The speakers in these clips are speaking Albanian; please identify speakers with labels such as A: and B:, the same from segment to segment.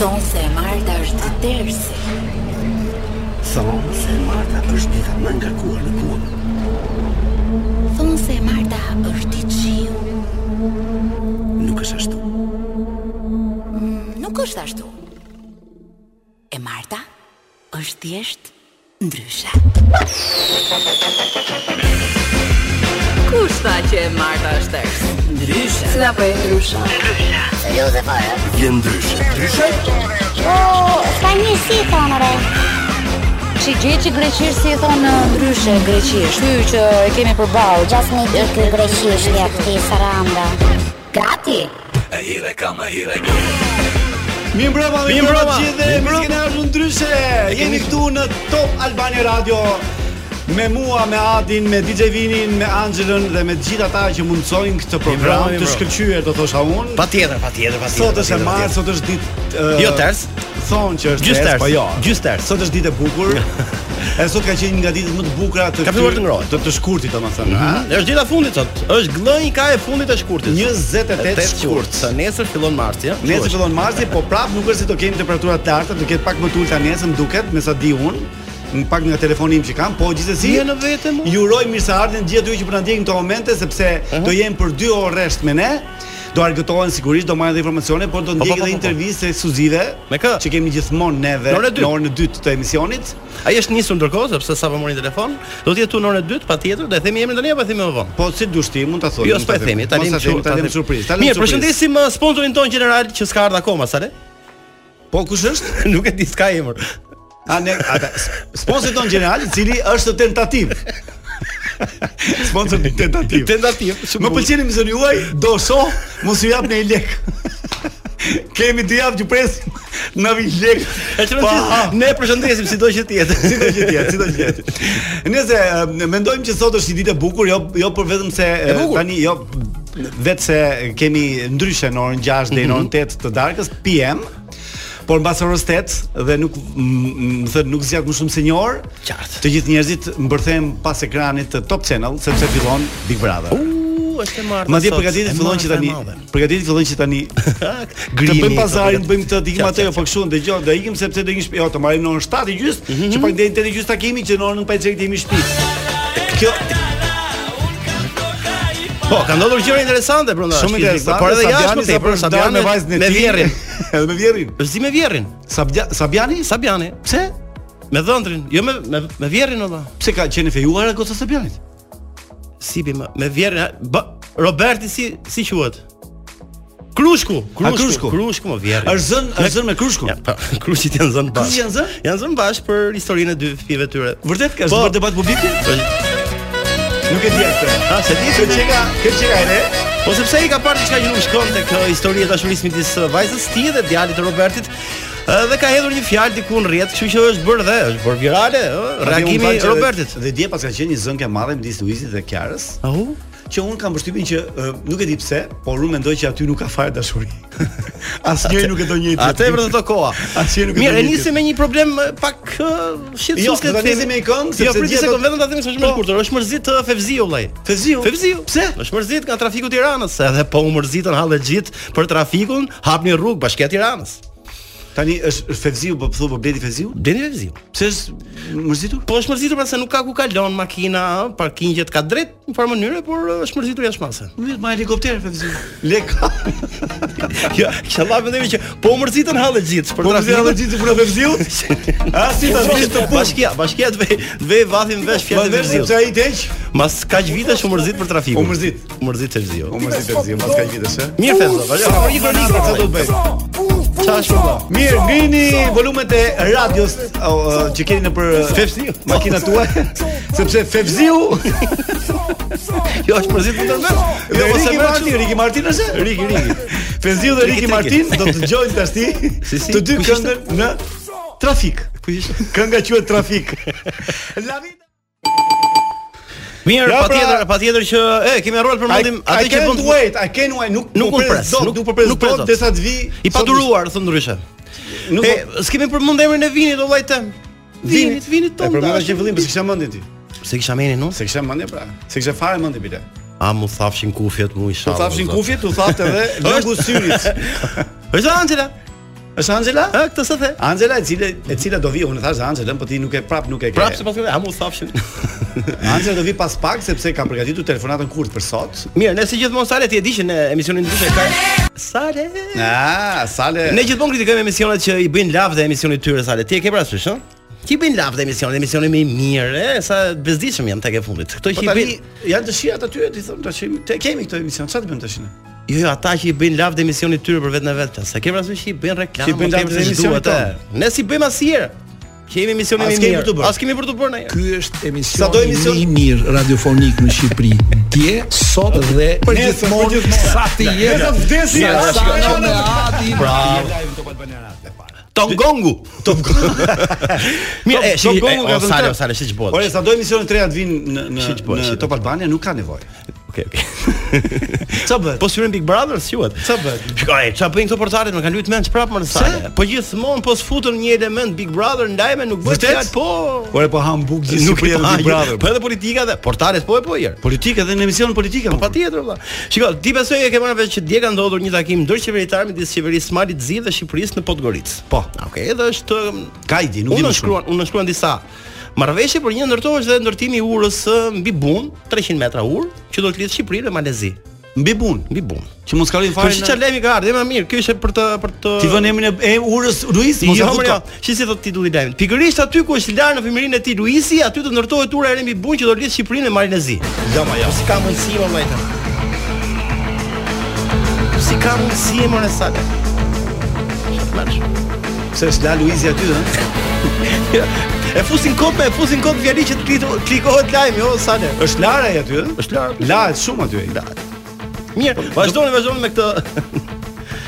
A: Thonë se e Marta është tërsi.
B: Thonë se Marta është dita më ngarkuar në kuar.
A: Thonë se e Marta është i qiu.
B: Nuk është ashtu.
A: Nuk është ashtu. E Marta është thjesht ndryshe.
C: Kush tha që e Marta është tërës? Ndryshe. Si na po e ndrysha?
B: Je ndryshe. Ndryshe?
D: Ka një si i thonë re
E: Që gjë që greqisht si e thonë ndryshe greqisht. Ky që e kemi përballë.
D: Gjas me di ky greqishtja këti saranda
A: Gati!
B: E hire kam, e hire
F: Mi mbrëma, mi mbrëma të gjithë dhe mi s'kene ardhur ndryshe Jeni këtu në Top Albani Radio Me mua, me Adin, me DJ Vinin, me Angelën dhe me gjithë ata që mundësojnë këtë
G: mbrëma,
F: program
G: mi
F: të
G: mbrëma.
F: shkëlqyer, do thosha unë.
G: Patjetër, patjetër, patjetër.
F: Sot është e
G: patjetër,
F: martë,
G: patjetër.
F: sot është ditë
G: Jo ters.
F: Thonë që është
G: Gjysë
F: ters,
G: ters,
F: po jo.
G: gjysë ters.
F: Sot është ditë e bukur. e sot ka qenë një nga ditët më të bukura të
G: Ka filluar të ngrohet.
F: të, të shkurtit domethënë, ha?
G: Ëh, Është dita e fundit sot. Është glënj ka e fundit e shkurtit.
F: 28 shkurt.
G: Sa nesër fillon marsi, ja?
F: Nesër fillon marsi, po prap nuk është se do kemi temperatura të larta, do ket pak më të ulta nesër, më duket, me sa di unë, më pak nga telefoni im që kam, po gjithsesi
G: Je në vete, mu?
F: Ju uroj mirë se ardhen gjithë ju që po na ndjekin këto momente sepse do jemi për 2 orë rresht me ne. Do argëtohen sigurisht, do marrin dhe informacione, por do
G: po,
F: ndjekin
G: po, po, po.
F: edhe intervistë ekskluzive
G: Me kë?
F: që kemi gjithmonë neve
G: Në orën e dytë.
F: në orën e dytë të emisionit.
G: Ai është nisur ndërkohë sepse sa po morin telefon, do të jetë tu në orën e dytë patjetër, do e themi emrin tani apo e themi më vonë?
F: Po si dush ti, mund ta thoni.
G: Jo,
F: mund
G: s'po e themi, tani
F: Mos ta
G: më
F: themi, ta lëmë surprizë. ta lëmë
G: Mirë,
F: surprizë.
G: përshëndesim uh, sponsorin ton general që s'ka ardhur akoma, sa le?
F: Po kush është?
G: Nuk e di s'ka emër.
F: A ne ata sponsor ton general, i cili është tentativ. Sponsor tentativ.
G: Tentativ, shumë
F: Më
G: bukur.
F: pëlqen emisioni juaj, do so, mos ju japni një lek. Kemi dy javë që presim në vi lek.
G: E që
F: Pa-
G: ne e përshëndesim sido që të jetë.
F: Si do që tjetë, si do që tjetë Nëse, e, mendojmë që sot është një ditë e bukur Jo, jo për vetëm se e,
G: bukur.
F: tani jo Vetë se kemi ndryshe në orën 6 dhe në
G: Mhm.
F: orën 8 të darkës PM Por mbas orës 8 dhe nuk m- m- më thënë nuk zgjat më shumë se një orë,
G: Qartë.
F: të gjithë njerëzit mbërthehen pas ekranit të Top Channel sepse fillon Big Brother.
G: U, është e martë.
F: Madje
G: Uh, sot,
F: përgatitet
G: e
F: fillon
G: martë
F: që
G: e
F: tani,
G: madhe.
F: përgatitet fillon që tani Të
G: Grini,
F: bëjmë pazarin,
G: këto
F: të bëjmë këtë, të ikim
G: Qartë,
F: atë, jo,
G: qartë,
F: po kështu dëgjoj, do ikim sepse do ikim shtëpi, jo, të marrim në orën 7 gjys,
G: Mhm.
F: që pak deri në 8 gjys takimi që në orën 5 të jemi në shtëpi. Kjo
G: Po, ka ndodhur gjëra interesante brenda.
F: shumë
G: shpisë,
F: interesante.
G: Por edhe jashtë më
F: sa
G: tepër,
F: përshtatja
G: Sabiani
F: me vajzën e
G: me
F: tij.
G: vjerrin.
F: Edhe me vjerrin.
G: Është si me vjerrin.
F: Sabja- Sabiani,
G: Sabiani,
F: pse?
G: me dhëndrin, jo me me, me vjerrin olla.
F: Pse ka qenë e fejuar e goca Sabianit?
G: Si bi me, me vjerrin, a- ba, Roberti si si quhet? Krushku,
F: A,
G: krushku,
F: krushku.
G: krushku më vjerrin.
F: Është zën, është zën me krushkun.
G: Ja, pa, krushit janë zënë bash.
F: Krushit janë zënë?
G: Janë zënë bash për historinë e dy fëmijëve tyre.
F: Vërtet ka
G: Po.
F: zbër debat publik?
G: Po,
F: Nuk e di atë.
G: A se di
F: Kjo çeka, kjo çeka e re.
G: Po sepse ai ka parë diçka që nuk shkon tek uh, historia e dashurisë midis uh, vajzës së tij dhe djalit të Robertit uh, dhe ka hedhur një fjalë diku në rrjet, kështu që është bërë dhe është bërë virale uh, reagimi i Robertit.
F: Dhe dje pas ka qenë një zënkë e madhe midis Luizit dhe Kiarës.
G: Au?
F: që un kam përshtypjen që uh, nuk e di pse, por unë mendoj që aty nuk ka fare dashuri. Asnjëri nuk e do njëjtin.
G: Atë e vërtet koha.
F: Asnjëri nuk e do
G: Mirë, e
F: njëjtin.
G: nisim me një problem uh, pak uh, shqetësues.
F: Jo, do ta nisim me një këngë,
G: sepse
F: sepse
G: jo,
F: gjithë
G: gjithë
F: do-
G: vetëm ta them se është më
F: Po.
G: e shkurtër. Është mërzit uh, Fevziu vllai.
F: Fevziu?
G: Fevziu.
F: Pse?
G: Është mërzit nga trafiku i Tiranës, edhe po u mërzitën hallëxhit për trafikun, hapni rrugë bashkia e Tiranës.
F: Tani është është Fevziu, po thu po bleti Fevziu?
G: Deni Fevziu.
F: Pse është mërzitur?
G: Po është mërzitur pra se nuk ka ku kalon makina, ë, parkingjet ka drejt në farë mënyre, por ë, është mërzitur jashtë mase.
F: Mirë, ma helikopter Fevziu. Leka.
G: Ja, inshallah mendoj që po u mërzitën hallë gjithë për
F: Po mos jam
G: trafikun.
F: gjithë punë Fevziu. A si ta zgjish të punë?
G: Bashkia, bashkia të vej, të vej vathin vesh
F: Ma
G: fjalë të
F: vesh sepse
G: Fevziut.
F: ai teq.
G: Mas kaq vitesh u mërzit për trafikun.
F: U mërzit.
G: U mërzit Fevziu.
F: mërzi Fevziu, mos ka vitesh, e?
G: Mirë Fevzo, vaje. Po një kronikë
F: Sa do të bëj?
G: çfarë është valla?
F: Mirë, ngrini volumet e radios o, o, që keni në për
G: Fevziu.
F: makinat tuaj, sepse Fevziu
G: Jo, është mërzit për tërmet.
F: Jo, mos e
G: merr
F: Martin,
G: çu-
F: Riki Martin është?
G: Riki, Riki.
F: Fevziu dhe Riki
G: Riki,
F: Martin do të dëgjojnë tash ti
G: Si, si,
F: të dy
G: kush ishte?
F: këngën në Trafik.
G: Ku ishte?
F: Kënga quhet Trafik. La vida.
G: Mirë,
F: Ja, pra-
G: Jo, patjetër, patjetër që e kemi harruar për
F: I,
G: mendim
F: I
G: atë që
F: can't
G: bën
F: wait, I can't wait, nuk
G: Nuk
F: po
G: unë pres,
F: dot,
G: nuk-
F: nuk po pres
G: nuk pres
F: dot
G: dot.
F: derisa të vi.
G: I
F: sot-
G: paduruar, thon ndryshe.
F: Nuk
G: E,
F: po-
G: s'kemë përmend emrin e vinit o vllai tem. Vinit, vinit
F: E
G: ton.
F: përmenda që
G: dashur.
F: në fillim, pse kisha mendin ti?
G: Se kisha mendin unë.
F: Se kisha mendje pra. Se kisha fare mendje bile.
G: A mu thafshin kufjet mu isha.
F: Tu thafshin kufjet, tu thaftë edhe lëngu syrit.
G: Është Angela.
F: Është Angela?
G: Ë, këtë s'e the.
F: Angela e cila e cila do vi, unë thash Angela, po ti nuk e prap nuk e ke.
G: Prapë se pas këtë, hamu thafshin.
F: Angela do vi pas pak sepse kam përgatitur telefonatën kurth për sot.
G: Mirë, nëse gjithmonë Sale ti e di që në emisionin ndryshe ka Sale.
F: Ah, sale.
G: Ne gjithmonë kritikojmë emisionet që i bëjnë lavë dhe emisionit tyre Sale. Ti e ke parasysh, ë? Ti bëjnë lavë dhe emisionet, emisioni më i mirë, e, sa bezdishëm jam tek e fundit. Kto
F: Po
G: që i
F: tani
G: bëjnë
F: janë të shijat aty, ti thon tash, te kemi këtë emision, çfarë të bëjmë tash ne?
G: Jo, jo, ata që i bëjnë lavë dhe emisionit tyre për vetën e vet. Sa ke parasysh që i bëjnë reklamë,
F: Që i bëjnë
G: ose
F: lavë dhe
G: pse s'duhet,
F: emisionit
G: e?
F: tonë.
G: Ne si bëjmë asnjëherë. Kemi emisionin
F: As
G: më i
F: kemi
G: mirë.
F: për të bërë.
G: As kemi për të bërë ne.
B: Ky është emisioni
F: Sado emision-
B: më i mirë radiofonik në Shqipëri. Dje, sot dhe përgjithmonë sa të jetë.
F: Sa të vdesi, as-
B: sa të me ati.
G: Tongongu. Tongongu. Mirë, e, shiki, e,
F: Tongongu ka
G: o,
F: vënë
G: Sale,
F: tre.
G: o, Sale, siç
F: Ore,
G: bëhet.
F: sa do emisionet të reja të vinë në në,
G: Po, Shit, po,
F: në
G: shit.
F: Top Albania, nuk ka nevojë.
G: Okej, okej.
F: Ç'a bëhet?
G: Po syrin Big Brother s'juhet.
F: Ç'a bëhet?
G: Shikoj, ç'a bëjnë këto portalet, më kanë luajtur mend prapë më në sale. Po gjithmonë po sfutën një element Big Brother ndajme nuk bëhet
F: Vërtet?
G: fjalë, po.
F: Ore, po hambuk gjithë
G: Nuk e
F: Shqipëria me
G: pa,
F: Big Brother.
G: Po edhe politika dhe portalet po e po jer.
F: Politika dhe në emision politike. Po
G: Patjetër valla. Shikoj, ti besoj e ke marrë vesh që dje ka ndodhur një takim ndërqeveritar midis qeverisë Malit Zi dhe Shqipërisë në Podgoricë.
F: Po.
G: Okej, edhe është
F: Ka idi, nuk di
G: unë
F: më shumë.
G: shkruan, unë shkruan disa marrëveshje për një ndërtohesh dhe ndërtimi i urës ë, mbi Bun, 300 metra urë, që do të lidh Shqipërinë me Malezi,
F: mbi bun,
G: mbi Bun.
F: që mos kalojnë
G: Po
F: fare.
G: si
F: në-
G: çfarë lajmi ka ardhur, më mirë, kjo ishte për të për të
F: Ti vën emrin e- e urës Luis, mos e
G: Jo,
F: fut.
G: jo,
F: kot.
G: si si thot titulli i lajmit. Pikërisht aty ku është larë në femirinë e tij Luisi, aty do ndërtohet tura e Remi Bun që do lidh Shqipërinë me Marinezi. Jo, ma jo. Si ka mundësi më vllajta? Si ka mundësi më në sale?
F: Se është la Luizi aty, ëh.
G: E fusin kot me, e fusin kot fjali që të klik- klikohet jo, lajmi, o sale.
F: Është Lara e aty, ëh.
G: Është larë.
F: Lahet shumë aty.
G: Mirë, vazhdoni, vazhdoni me këtë.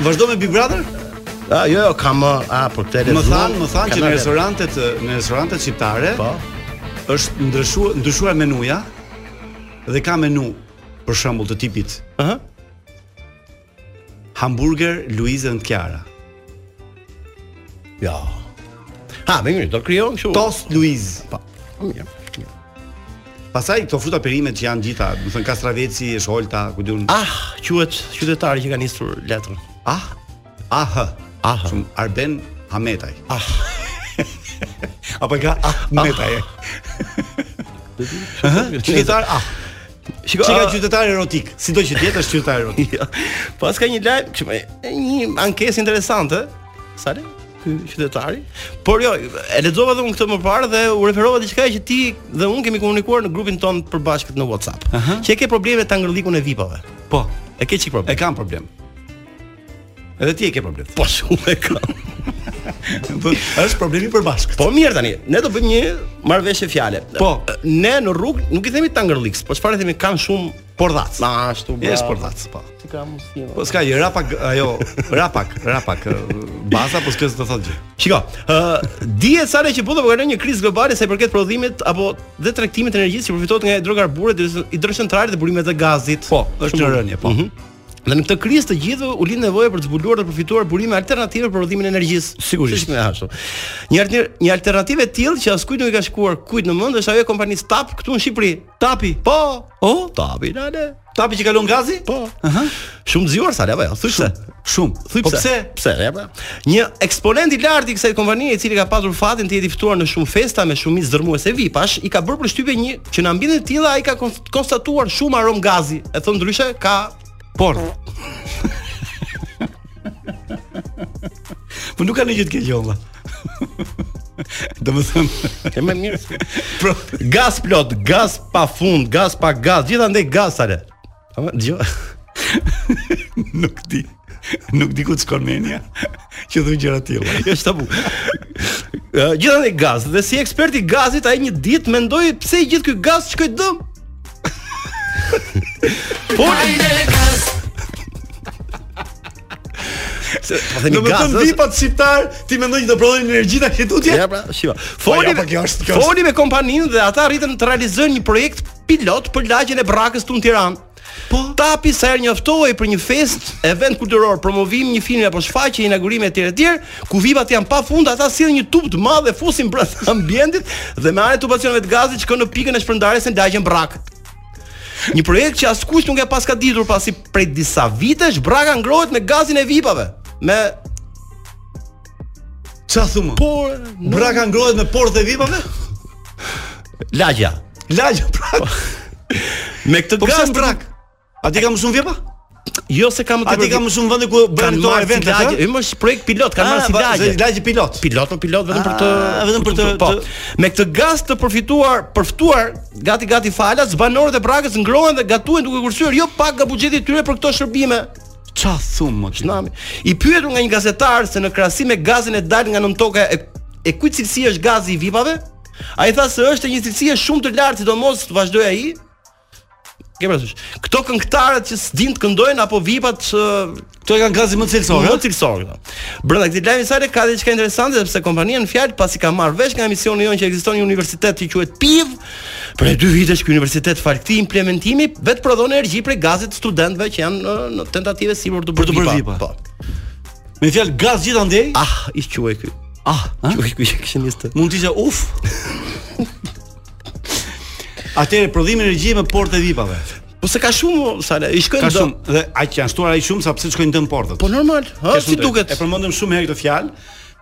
F: Vazhdo me Big Brother?
G: Ah, jo, jo, kam ah, ah, për televizor.
F: Më than, më than që në restorantet në restorantet shqiptare
G: Po.
F: është ndryshuar ndryshuar menuja dhe ka menu për shembull të tipit
G: Aha.
F: hamburger Luize and Chiara,
G: Jo. Ha, më mirë, do krijon kështu.
F: toast Luiz.
G: Po. Mirë. mirë.
F: Pastaj këto fruta perimet që janë gjitha, do të thënë kastraveci, sholta, ku diun.
G: Ah, quhet qytetari që ka nisur letrën.
F: Ah. Ah.
G: Ah.
F: Shumë Arben Hametaj.
G: Ah.
F: Apo ka Ahmetaj. Qytetar ah.
G: Shiko,
F: Çka
G: ah,
F: qytetar erotik, sido që të jetë është qytetar erotik.
G: jo. Pas ka një lajm, kështu, e, një ankesë interesante, sa le? Ky qytetari. Por jo, e lexova dhe unë këtë më parë dhe u referova diçka që ti dhe unë kemi komunikuar në grupin ton përbashkët në WhatsApp. Që e ke probleme ta angërllikun e VIP-ave.
F: Po,
G: E ke çik
F: e
G: problem.
F: kam problem. Edhe ti e ke problem.
G: Po shumë e kam.
F: Po, është problemi përbashkët.
G: Po mirë tani, ne do bëjmë një marrëveshje fjale.
F: Po.
G: ne në rrugë nuk i themi tangërliks, po çfarë i themi kanë shumë pordhac. Na ashtu.
F: Je
G: bravo.
F: sportac, po.
G: Si ka mundësi.
F: Po s'ka gjë, rapak, ajo, rapak, rapak, ë, baza, po s'ka se të thotë gjë.
G: Shiko, ë dihet sa që bota po kalon një krizë globale sa i përket prodhimit apo dhe tregtimit të energjisë që përfitohet nga hidrokarburet hidrocentrale dhe burimet e gazit.
F: Po, është në rënje, po.
G: Mhm. Dhe në këtë krizë të gjithëve u lind nevoja për të zbuluar dhe përfituar burime alternative për prodhimin e energjisë.
F: Sigurisht.
G: Është ashtu. Një alter, një alternativë e tillë që askujt nuk i ka shkuar kujt në mend është ajo e kompanisë TAP këtu në Shqipëri. TAPi. Po.
F: O?
G: TAPi, lale.
F: Tapi që kalon gazi?
G: Po. Aha. Shumë zgjuar sa apo jo? Thuaj pse.
F: Shumë.
G: Thuj
F: Po pse?
G: Pse? Ja, pra. Një eksponent i lartë i kësaj kompanie i cili ka pasur fatin të jetë i ftuar në shumë festa me shumë mish dërmuese VIP-ash, i ka bërë përshtypje një që në ambientin të tillë ai ka konst- konstatuar shumë arom gazi. E thon ndryshe ka
F: Por. po nuk ka në gjë të keq olla. Do më thëmë,
G: e më mirë. Pro, gaz plot, gaz pa fund, gaz pa gaz, gjithandaj gaz sale. Ama dëgjoj.
F: nuk di. Nuk di ku të shkon menja që thuj gjëra tilla.
G: Jo është tabu. Ë, Gjithandaj gaz. Dhe si ekspert i gazit ai një ditë mendoi pse i gjithë ky gaz shkoi dëm. Po, se- po themi
F: Do më
G: gaz. ëh,
F: thëmë
G: se-
F: vipat shqiptar, ti mendoj që do prodhojnë energji ta këtu tje?
G: Ja pra, shiva. Foli,
F: ja, po kjo është- kjo është-
G: foli me kompaninë dhe ata arritën të realizojnë një projekt pilot për lagjen e Brakës tu në Tiranë. Po, tapi sa herë njoftohej për një festë, event kulturor, promovim një filmi apo shfaqje, inaugurime etj etj, ku vipat janë pafund, ata sillin një tub të madh dhe fusin brenda ambientit dhe me anë tubacioneve të gazit shkon në pikën e shpërndarjes në lagjen Brakë. Një projekt që askush nuk e paska ditur pasi prej disa vitesh Braka ngrohet me gazin e vipave, me
F: Ç'a thumë?
G: Por
F: Po, Braka ngrohet me portë e vipave?
G: lagja.
F: Lagja pra.
G: Me këtë
F: Po pse
G: gast
F: brak? A ti ka mësuar vjepa?
G: Jo se kam
F: A ti ka mësuar vende ku bëhen
G: kanë
F: këto
G: marrë
F: evente? Ah,
G: si lagje. Ë, më është projekt pilot, kanë marrë si lagje.
F: Lagje pilot.
G: Pilot, po pilot vetëm për të
F: Ah, vetëm për të-
G: po.
F: të-
G: Me këtë gaz të përfituar, përfituar gati gati falas, banorët e Brakës ngrohen dhe gatuhen duke kursyer jo pak nga buxheti i tyre për këto shërbime.
F: Ça thumë? mo ti?
G: Nami. I pyetur nga një gazetar se në krahasim me gazin e dalë nga nën tokë e, e kujt cilësia është gazi i VIP-ave, ai tha se është e një cilësie shumë të lartë, sidomos të vazhdoi ai. Ke parasysh. Këto këngëtarët që s'din të këndojnë apo VIP-at që
F: Këto e kanë gazi më të cilësore.
G: Më cilësor këta. Brenda këtij lajmi sale ka diçka interesante sepse kompania në fjalë pasi ka marrë vesh nga misioni jonë që ekziston një universitet që quhet PIV, për e dy vitesh ky universitet fal këtij implementimi vetë prodhon energji prej gazit studentëve që janë në, në tentative si për të
F: Për të bërë vipa.
G: Po.
F: Me fjalë gaz gjithandej,
G: Ah, i quaj ky. Ah, i quaj ky që kishin listë.
F: mund të ishte uf. Atëre prodhimi energjie me portë e vipave.
G: Po se ka shumë sale, i shkojnë
F: Ka
G: do.
F: shumë dhe aq janë shtuar ai shumë sa pse shkojnë dëm portët.
G: Po normal, ha,
F: Ke
G: si
F: shumë drejt.
G: duket.
F: E përmendëm shumë herë këtë fjalë,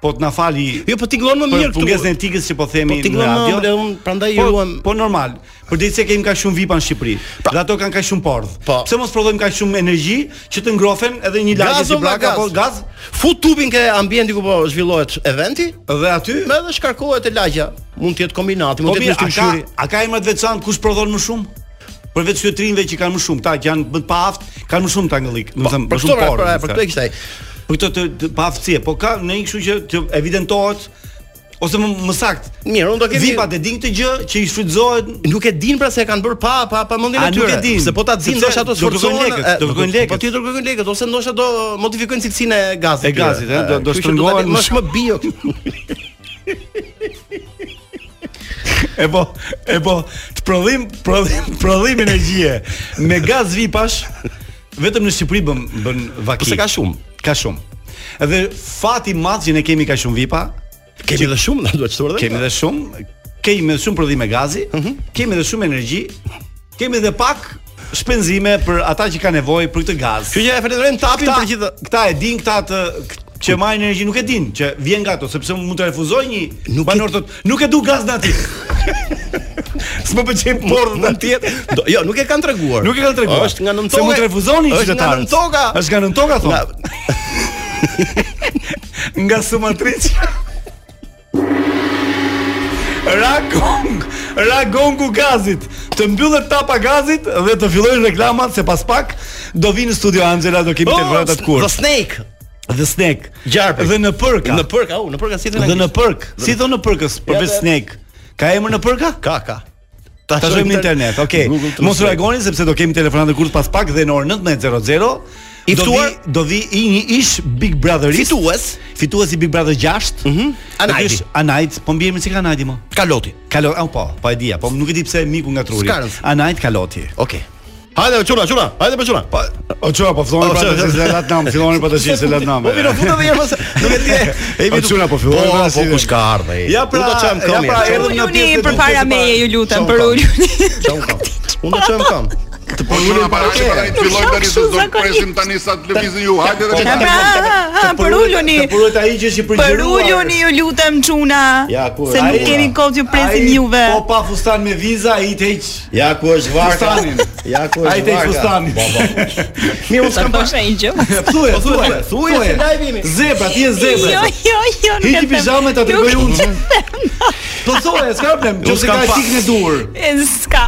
F: po të na fali.
G: Jo, po tingëllon më mirë
F: Për
G: këtu.
F: pungesën e tikës që po themi
G: Po tingëllon
F: në
G: më,
F: radio.
G: ble, unë prandaj i
F: po,
G: ruam. Pra-
F: Po normal. Por ditë se kemi kaq shumë vipa në Shqipëri. Dhe ato kanë kaq shumë porth.
G: Po.
F: Pse mos prodhojmë kaq shumë energji që të ngrohen edhe një lagje
G: Gazo
F: si
G: nga
F: braka
G: po, gaz.
F: apo gaz
G: Fut tubin ke ambienti ku po zhvillohet eventi,
F: dhe aty
G: më edhe shkarkohet e lagja. Mund të jetë kombinati,
F: Po
G: mund të
F: mirë,
G: jetë
F: a ka
G: ushqyri.
F: a ka emra të veçantë kush prodhon më shumë? Përveç sytrinëve që kanë më shumë, ta që janë më të paaft, kanë më shumë tangëllik, do të them, më
G: Për
F: shumë
G: këto pra,
F: porë.
G: pra, për këto e kishte ai.
F: Për këto të, të paaftësie, po ka në një kështu që që evidentohet ose më, më sakt.
G: Mirë, unë do kemi
F: Vipat e din këtë gjë që i shfrytëzohet
G: nuk e din pra se e kanë bërë pa pa pa mendin
F: A,
G: e
F: nuk
G: tyre.
F: e din.
G: Se po ta din
F: Sepse
G: ndoshta ato
F: do kërkojnë
G: sforcohen.
F: lekët,
G: e,
F: do kërkojnë lekët.
G: Po ti do kërkojnë lekët ose ndoshta do modifikojnë cilësinë e gazit.
F: E gazit,
G: tyre.
F: e, do-
G: E,
F: do
G: kështu që
F: shtrëngohen
G: ta-
F: më
G: më shumë bio.
F: E po, e po, të prodhim, prodhim, prodhim energjie me gaz vipash vetëm në Shqipëri bën bën vaki.
G: Po se ka shumë.
F: Ka shumë. Edhe fati i madh që ne kemi ka shumë vipa,
G: Kemi edhe shumë, na duhet shtuar edhe.
F: kemi edhe shumë, kemi edhe shumë prodhime gazi,
G: Mhm.
F: kemi edhe shumë energji, kemi edhe pak shpenzime për ata që kanë nevojë për këtë gaz.
G: Kështu që e falenderojmë tapin
F: Këta,
G: për gjithë.
F: këta e din këta të që marrin energji nuk e din që vjen nga ato sepse mund të refuzoj një
G: Nuk e-
F: banor të nuk e du gaz natë. S'më
G: po
F: pëlqen porrë
G: Mund të jetë. do- Jo, nuk e kanë treguar.
F: Nuk e kanë treguar.
G: Është nga nëntoka.
F: Se mund të refuzoni
G: Është nga
F: qytetarët.
G: nën toka.
F: Është nga nën toka thon.
G: Nga-
F: Nga Sumatriç. Ragong, ragongu gazit. Të mbyllet tapa gazit dhe të fillojnë reklamat se pas pak do vinë në studio Angela, do
G: Oh,
F: kemi telefonata të
G: The
F: kurtë.
G: Snake.
F: Dhe snack.
G: Gjarpek.
F: Dhe në përka.
G: Në përk, au, në përk si thënë.
F: Dhe në përk. Si thon në përkës, përveç
G: dhe-
F: snack. Ka emër në përka?
G: Ka, ka.
F: Ta shojmë në internet, okay. Mos reagoni sepse do kemi telefonat të kurtë pas pak dhe në orën 19:00
G: I
F: do
G: ftuar-
F: vi do vi i një ish Big Brotherist,
G: Fitues.
F: fituesi Big Brother 6. Mhm.
G: Anajti.
F: Anajt, po mbiemri si ka Anajti më?
G: Kaloti.
F: Kalo, au po, po e dia, po nuk e di pse miku nga truri.
G: S'ka rëndsi.
F: Anajt Kaloti.
G: Okej. Hajde, çuna, çuna. Hajde për çuna.
F: Po, o çuna po filloni
G: O,
F: pra
G: çuna.
F: të se lat nam, filloni pra të qenë se lat nam.
G: Po mirë, futa edhe një herë mos. Nuk e di. E
F: O, çuna, po fillojnë pra, si-
G: Po kush ka ardhe.
F: Ja pra,
G: do të çojm
F: ja
G: këmbë.
F: pra,
G: ja.
F: erdhëm në
C: Uluni
F: pjesën e pra.
C: përpara
F: dytë,
C: meje, ju lutem, për uluni.
G: Çojm këmbë. Unë do çojm këmbë.
H: Të po ulën para që tani të filloj tani se do të
C: zakonisht.
H: presim tani sa të lëvizin ju. Hajde dhe
C: Pra,
H: tani.
C: ha, ha, për uluni.
F: Të puruhet ai që është i përgjëruar.
C: Për uluni ju lutem çuna.
G: Ja, ku
C: Se
G: është?
C: nuk
F: Ai-
C: keni kohë ju presim
F: ai
C: juve.
F: Po pa fustan me viza, ai të heq
G: Ja ku është
F: fustanin.
G: Ja ku është
F: Ai të heq
G: varga.
F: fustanin.
G: Mirë, unë
C: Ta
G: s'kam
C: thosh
G: bashkë.
C: ai gjë.
F: Thuaj, thuaj,
G: Po, thuaj, se live jemi.
F: Zebra, ti je
C: Jo,
F: zebra.
C: jo, jo. nuk e
F: Hiqi
C: them.
F: pijamen ta
C: Nuk-
F: tregoj unë. Po thuaj, s'ka problem, nëse
G: s'kam
F: ka
G: pa-
F: tik në dur.
C: E, S'ka.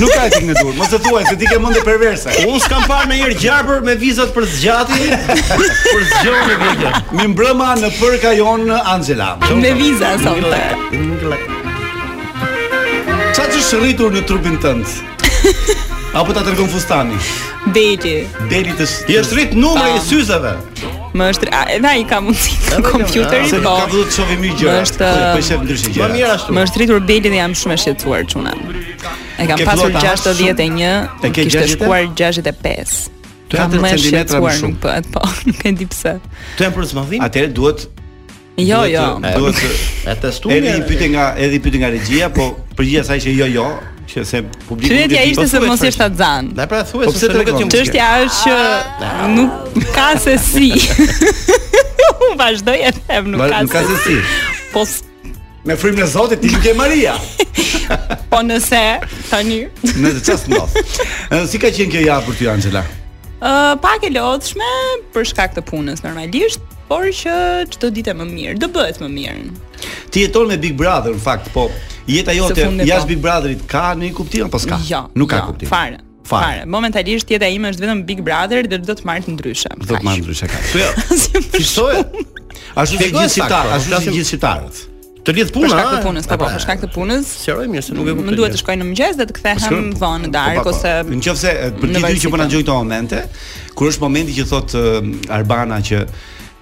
F: Nuk ka tik në dur, mos e thuaj se ti ke mendje perverse.
G: Unë s'kam parë në herë gjarpër me vizat për zgjati, për zgjohje për gjë.
F: Mi mbrëma në përka jon Angela.
C: Me viza sonte.
F: Qa që shërritur në trupin tënd? Apo ta tërgon fustani
C: Beti.
F: Deli të sh...
G: I është rrit numri i syzeve.
C: Më është a- edhe ai ka mundësi në
F: jo, Se
C: kompjuteri,
F: nuk
C: po.
F: ka vëllu të shofi mirë gjëra
C: Është-
F: Po i shef ndryshe
G: Më mirë
F: gjëra
G: ashtu.
C: Më është rritur beli dhe jam shumë e shqetësuar çuna. E kam
F: Ke
C: pasur
F: flota, ha,
C: 61,
F: E ke
C: kishte
F: 60?
C: shkuar 65.
F: Katër
C: Kam më e
F: centimetra më
C: shqetësuar
F: shumë.
C: nuk bëhet, po, nuk e di pse.
G: Të janë për zmadhim.
F: Atëherë duhet
C: Jo,
F: duhet
C: jo.
F: të- Duhet
G: E
F: të
G: testuar.
F: Edhe i Po pyete nga edhe i pyete nga regjia, po përgjigjja saj që jo jo. që se publiku
I: Pyetja
F: nuk e di.
I: ishte se
G: thuhet
I: mos
G: first.
I: jesh atzan.
G: Dhe pra thuaj
F: Po
G: se se
F: pse të
G: nuk e
F: regon?
G: di.
I: Çështja është
F: Ah.
I: që nuk ka se si. Unë vazhdoj e them nuk
F: Ma-
I: ka.
F: Nuk ka se si.
I: Po s-
F: Me frymën e Zotit ti nuk je Maria.
I: po nëse tani
F: Në të çast ndodh. Ë, Si ka qenë kjo javë për ty Angela?
I: Ë, pak e lodhshme për shkak të punës normalisht, por që çdo ditë e më mirë, do bëhet më mirë.
F: Ti jeton me Big Brother në fakt, po jeta jote
I: fundi, po.
F: jashtë Big Brotherit ka në kuptim apo s'ka?
I: Jo.
F: nuk ka
I: jo,
F: kuptim.
I: Fare.
F: Fare.
I: Fare. Momentalisht jeta ime është vetëm Big Brother dhe do të marr të ndryshe.
F: Do të marr ndryshe ka. Po jo,
I: Si më
F: fishtohet. Ashtu si
G: Shpjegoj
F: gjithë
G: saktë,
F: shqiptarët,
G: po,
F: ashtu si
G: flasim-
F: gjithë shqiptarët.
G: Të lidh
I: Për
G: puna.
I: shkak të
G: a?
I: punës, po po, për shqak të punës.
G: Sqaroj mirë se nuk e kuptoj.
I: Më duhet
G: mirë.
I: të shkoj në mëngjes dhe të kthehem
F: Shkruaj-
I: vonë në
F: Po,
I: darkë
F: po, po.
I: ose
F: nëse për
I: në
F: ti dy që po na
I: valsita.
F: gjoj këto momente, kur është momenti që thot ë, Arbana që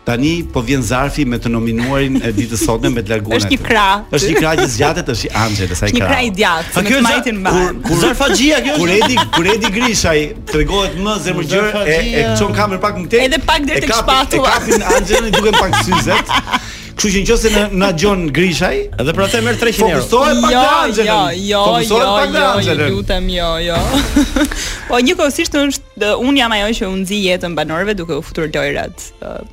F: tani po vjen zarfi me të nominuarin e ditës sotme me të larguar.
I: Është një krah.
F: Është një krah që zgjatet, është i Anxhelës, ai
I: Është një
F: krah.
I: krah i djathtë,
F: A
I: me
F: kjo
I: të
F: është-
I: majtin mban.
F: Kur kur
G: Zarfaxhia kjo
F: Kur
G: është.
F: Edi, kur Edi Grishaj tregohet më zemërgjër e e çon kamerën pak më tej.
I: Edhe pak deri tek shpatulla.
F: E kapin Anxhelën duken pak syzet. Kështu që nëse na na gjon Grishaj,
G: Edhe për atë merr 300 euro.
F: fokusohet pak te Anxhelën.
I: Jo, jo, jo,
F: Fokusohet pak te
I: jo, ju
F: Anxhelën.
I: lutem, jo, jo. po njëkohësisht është dhe unë jam ajo që u nxi jetën banorëve duke u futur lojrat. Ë,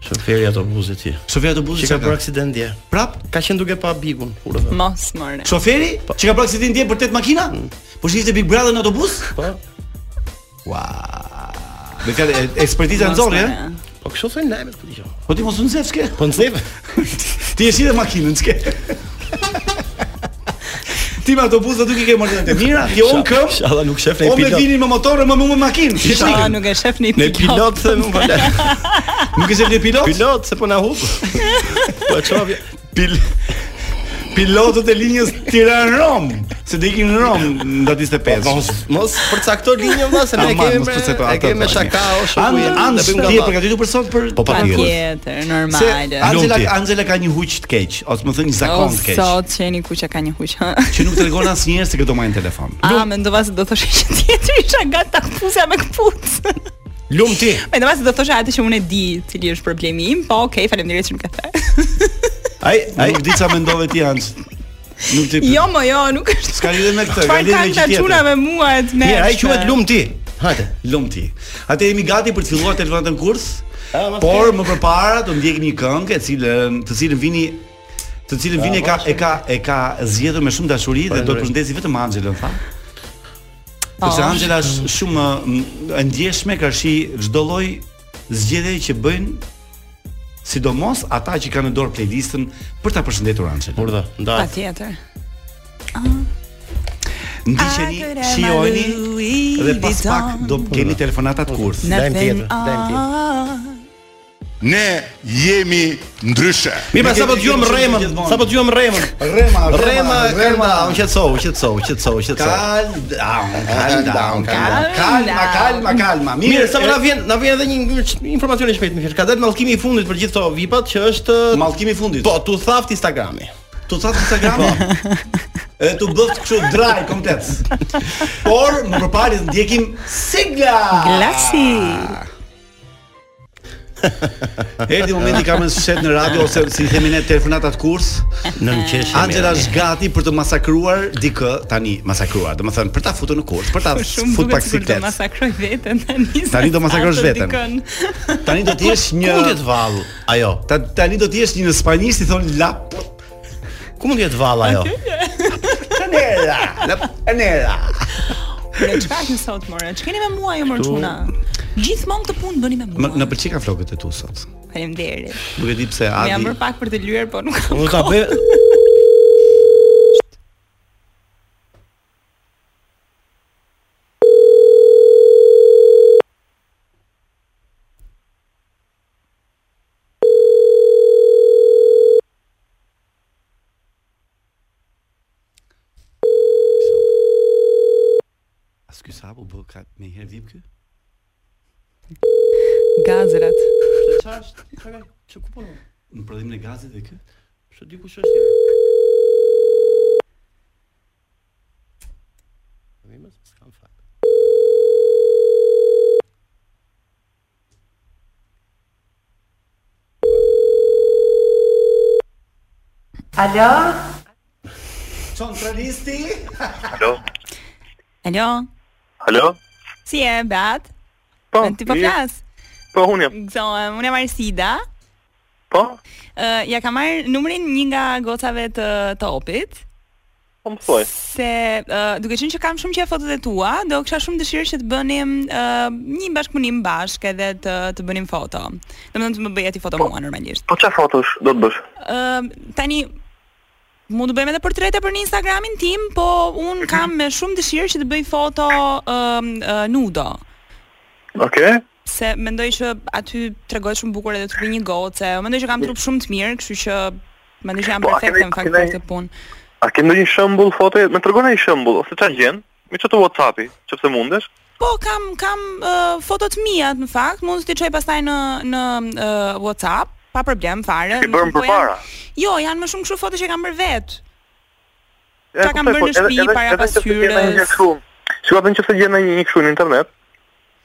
G: Shoferi autobusit ti.
F: Shoferi i autobusit
G: Që ka bërë aksident dje.
F: prap?
G: Ka qenë duke pa bigun, kurrë.
I: Mos more.
F: Shoferi që ka bërë aksident dje për tet makina? Po shihte Big Brother në autobus?
G: Mhm. Po.
F: Ua. Me fjalë e- eh? ekspertiza
I: Mos
F: nxorri,
I: more.
F: ëh?
G: Po kështu thonë lajmet po dëgjoj.
F: Po ti mos u nxef s'ke.
G: Po nxef.
F: Ti e shihte makinën s'ke. Ti me autobus do duke ke marrë të mira, ti on këmb.
G: Inshallah nuk shef
F: O me vinin me motorë, më mua me makinë.
I: Ah,
F: Shikni.
I: nuk e shef në
G: Ne pilot them unë valla.
F: Nuk e shef një pilot?
G: Pilot se po na hub. Po e çova.
F: Pil... Pilotët e linjës Tiranë-Rom, se do ikin në Rom në datë 25.
G: Po, Mos mos përcakto linjën valla se ne
F: Aman,
G: kemi
F: mos përcakto
G: me- e
F: atë,
G: kemi me
F: tani.
G: shakao
F: An
G: shoku.
F: an
G: ne bëjmë
F: ti e
G: gabim.
F: përgatitur për sot për
G: Po, patjetër.
I: Patjetër,
F: Se
I: normale.
F: Angela
G: Lumti.
F: Angela ka një huq të keq, ose më thënë një
I: O,
F: zakon të
G: Oh,
F: keq,
I: sot qeni ku që ka një huq. ha?
F: që nuk tregon asnjëherë se këto marrin telefon.
I: A, mendova se do thoshe që tjetër isha gati ta kthusja me kput.
G: Lum ti.
I: Mendova se do thoshe atë që unë e di, cili është problemi im, po okay, faleminderit që më ke thënë.
F: Ai ai nuk di çfarë mendove ti Anx. Nuk ti.
I: Jo, mo, jo, nuk është.
F: S'ka lidhje me këtë, ka
I: Çfarë
F: lidhje me
I: kanë
F: gjë
I: ta
F: tjetër.
I: çuna me mua e të ne.
G: Mirë, ai quhet Lum ti. Hajde.
F: Lumti. Atë jemi gati për të filluar telefonatën kurs,
G: A, ma
F: por më përpara do ndjekim një këngë e cilën të cilën vini të cilën vini e ka e ka e ka zgjedhur me shumë dashuri dhe do të përshëndesi vetëm Anxhelën, tha. Sepse Anxhela është shumë mm, e ndjeshme karshi çdo lloj zgjedhje që bëjnë sidomos ata që kanë në dorë playlistën për ta përshëndetur Anxhelën.
G: Urdhë, ndaj.
I: Patjetër.
F: Ndiqeni, shijojni dhe jo, pas pak do keni telefonatat kurs.
G: Lajm tjetër, lajm tjetër.
I: Ah.
H: Ne jemi ndryshe.
G: Mirë, pa, sa po
F: Nuk e-
G: dëgjojmë
F: nuk e-
G: Remën,
F: gjithmonë.
G: sa po dëgjojmë Remën.
F: Rema,
G: Rema, Rema, u qetësou, u qetësou, u qetësou, u qetësou.
F: Calm down, calm down, calm down. Kalma, kalma, kalma.
G: Mirë, sa po na
F: e-
G: vjen, na vjen edhe një një informacion i shpejtë më thjesht. Ka dalë mallkimi i fundit për gjithë këto VIP-at që është
F: mallkimi i fundit.
G: po tu thaft Instagrami. Po.
F: tu thatë Instagrami. E tu bëft kështu dry komplet. Por më përpara të ndjekim Sigla.
I: Ah. Glasi.
F: Ah. Erdhi momenti ka më shet në radio ose si themi ne telefonatat kurs.
G: Në një qeshje.
F: Angela është gati për të masakruar dikë tani, masakruar. Domethënë për ta futur në kurs, për ta
I: Shumë
F: fut
I: duket
F: pak
I: sikur do
F: siklet.
I: masakroj veten tani. se
F: Tani do
I: sa
F: masakrosh
I: të
F: veten.
I: dikon.
F: Tani do të jesh një
G: Ku mund jetë vall ajo?
F: Ta, tani do të jesh një në spanjisht i thonë la
G: Ku mund jetë vall ajo?
F: Anera, la Anera.
I: Bre, çka keni sot more? Ç'keni me mua ju mërçuna? Gjithmonë këtë punë bëni me
F: Më,
I: mua.
F: në pëlqej ka flokët e tu sot.
I: Faleminderit.
F: Nuk e di pse
I: Më jam
F: Adi.
I: bërë pak për të lyer, po nuk kam.
G: Unë ta bëj
F: A s'ky sapo bë ka me herë vip ky?
I: Gazerat.
G: Çfarë është? Çfarë? Çu ku punon?
F: Në prodhimin e gazit dhe kë?
G: Ço di kush është? Vimës, s'kam fat.
F: Centralisti?
I: Alo,
J: Alo?
I: si je, Beat?
J: Po,
I: Ti po
J: mirë.
I: flas?
J: Po, unë jam.
I: Gëzohem, unë jam Arsida.
J: Po?
I: Uh, ja ka marrë numrin një nga gocave të të opit
J: Po më thuaj.
I: se uh, duke qenë që kam shumë qejf fotot e tua, do kisha shumë dëshirë që të bënim uh, një bashkëpunim bashkë edhe të të bënim foto. Domethënë të më bëja ti foto mua normalisht.
J: Po çfarë fotosh do të bësh?
I: Ëm, tani mund të bëjmë edhe portrete për në Instagramin tim, po un kam me shumë dëshirë që të bëj foto ëm ë, nudo,
J: Okej.
I: se mendoj që aty tregohet shumë bukur edhe trupi një goce. Mendoj që kam trup shumë të mirë, kështu që mendoj që jam
J: Po, a
I: perfekte
J: keni-
I: në fakt
J: keni-
I: për këtë punë.
J: A ke ndonjë shembull fotoje? Më tregon ai shembull ose çfarë gjen? Me çfarë të WhatsApp-i, nëse mundesh.
I: Po kam kam ë, foto të mia në fakt, mund t'i çoj pastaj në në ë, WhatsApp pa problem fare.
J: Ti bërë më
I: Po janë-
J: përpara.
I: Jo, janë më shumë kështu foto që kam bërë vetë.
J: Ja,
I: Çfarë kam
J: kuptoj,
I: bërë
J: po,
I: në shtëpi,
J: edhe-
I: para
J: edhe nëse gjen
I: pasqyrës.
J: ndonjë gjë kështu. Shikoj edhe nëse gjen ndonjë gjë kështu në internet.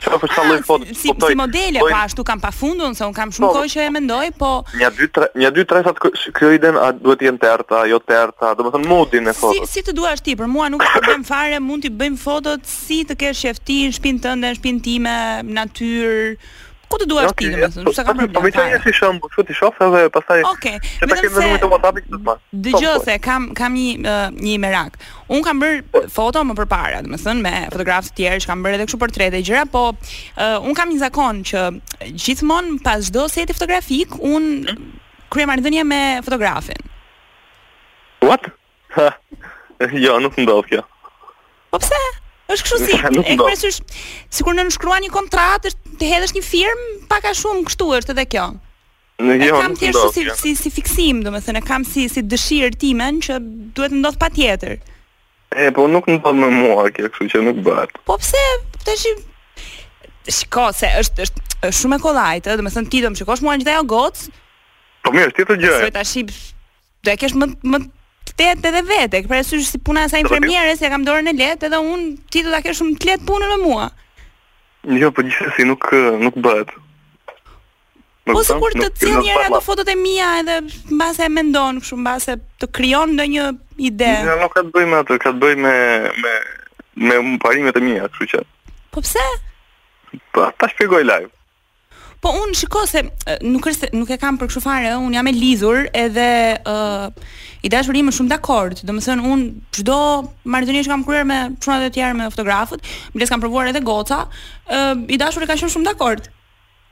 J: Çfarë po çfarë lloj
I: Ah,
J: foto?
I: si- Si, si modele, po ashtu kam pafundun se un kam shumë
J: Po.
I: kohë që e mendoj, po
J: Një dy tre, një dy tre sa të kë- kjo iden a duhet të jenë terta, jo terta, domethënë modin e
I: si
J: fotos.
I: si të duash ti, për mua nuk është problem fare, mund t'i bëjmë fotot si të kesh qejf ti, në shtëpinë tënde, në shtëpinë time, në natyrë. Ku të duash ti, domethënë, s'ka
J: Po, Po
I: problem.
J: më thënë
I: fare.
J: si shembull, kështu ti shoh edhe pastaj
I: Okej,
J: Që ta
I: vetëm
J: kemë numrin
I: se
J: të WhatsApp-it këtë pas.
I: Dëgjoj se kam kam një uh, një merak. Un kam
J: Po.
I: bër foto më përpara, domethënë me fotografë të tjerë që kam bërë edhe kështu portrete e gjëra, po uh, un kam një zakon që gjithmonë pas çdo seti fotografik un krye marrëdhënie me fotografin.
J: What? Ha, jo, nuk ndodh kjo.
I: Po pse? Është kështu si
J: Nuk
I: e
J: do.
I: presysh sikur në shkruan një kontratë, është të hedhësh një firmë, pak a shumë kështu është edhe kjo.
J: Në
I: E
J: jo,
I: kam
J: nuk
I: thjesht
J: ndodh
I: si,
J: kjo.
I: si si fiksim, domethënë e kam si si dëshirë timen që duhet të ndodh patjetër.
J: E, po nuk ndodh me mua kjo, kështu që nuk bëhet.
I: Po pse tash i- Shiko, se është është është shumë e kollajtë, ë, domethënë ti do më shikosh mua në gjithë ajo gocë,
J: Po mirë, është tjetër gjë.
I: se tash i do e kesh më më të tetë edhe vete, për arsye si puna e saj
J: Do të-
I: infermieres, ja kam dorën e lehtë edhe unë ti do ta kesh shumë të lehtë punën me mua.
J: Jo, po gjithsesi nuk ë, nuk bëhet. Nuk
I: Po
J: kupton?
I: sikur të
J: Nuk-
I: cilë
J: nuk
I: njëra
J: bëhet
I: ato
J: ma-
I: fotot e mia edhe mbase e mendon kështu mbase të krijon ndonjë ide.
J: Ja, nuk ka të bëj me atë, ka të bëj me me me parimet e mia, kështu që.
I: Po pse?
J: Po ta shpjegoj live.
I: Po un shiko se e, nuk është se- nuk e kam për kështu fare, ë, un jam e lidhur edhe ë i dashuri më shumë dakord. Domethënë un çdo marrëdhënie që kam kryer me çuna të tjerë me fotografët, mbas kam provuar edhe goca, ë i dashuri ka qenë shumë dakord.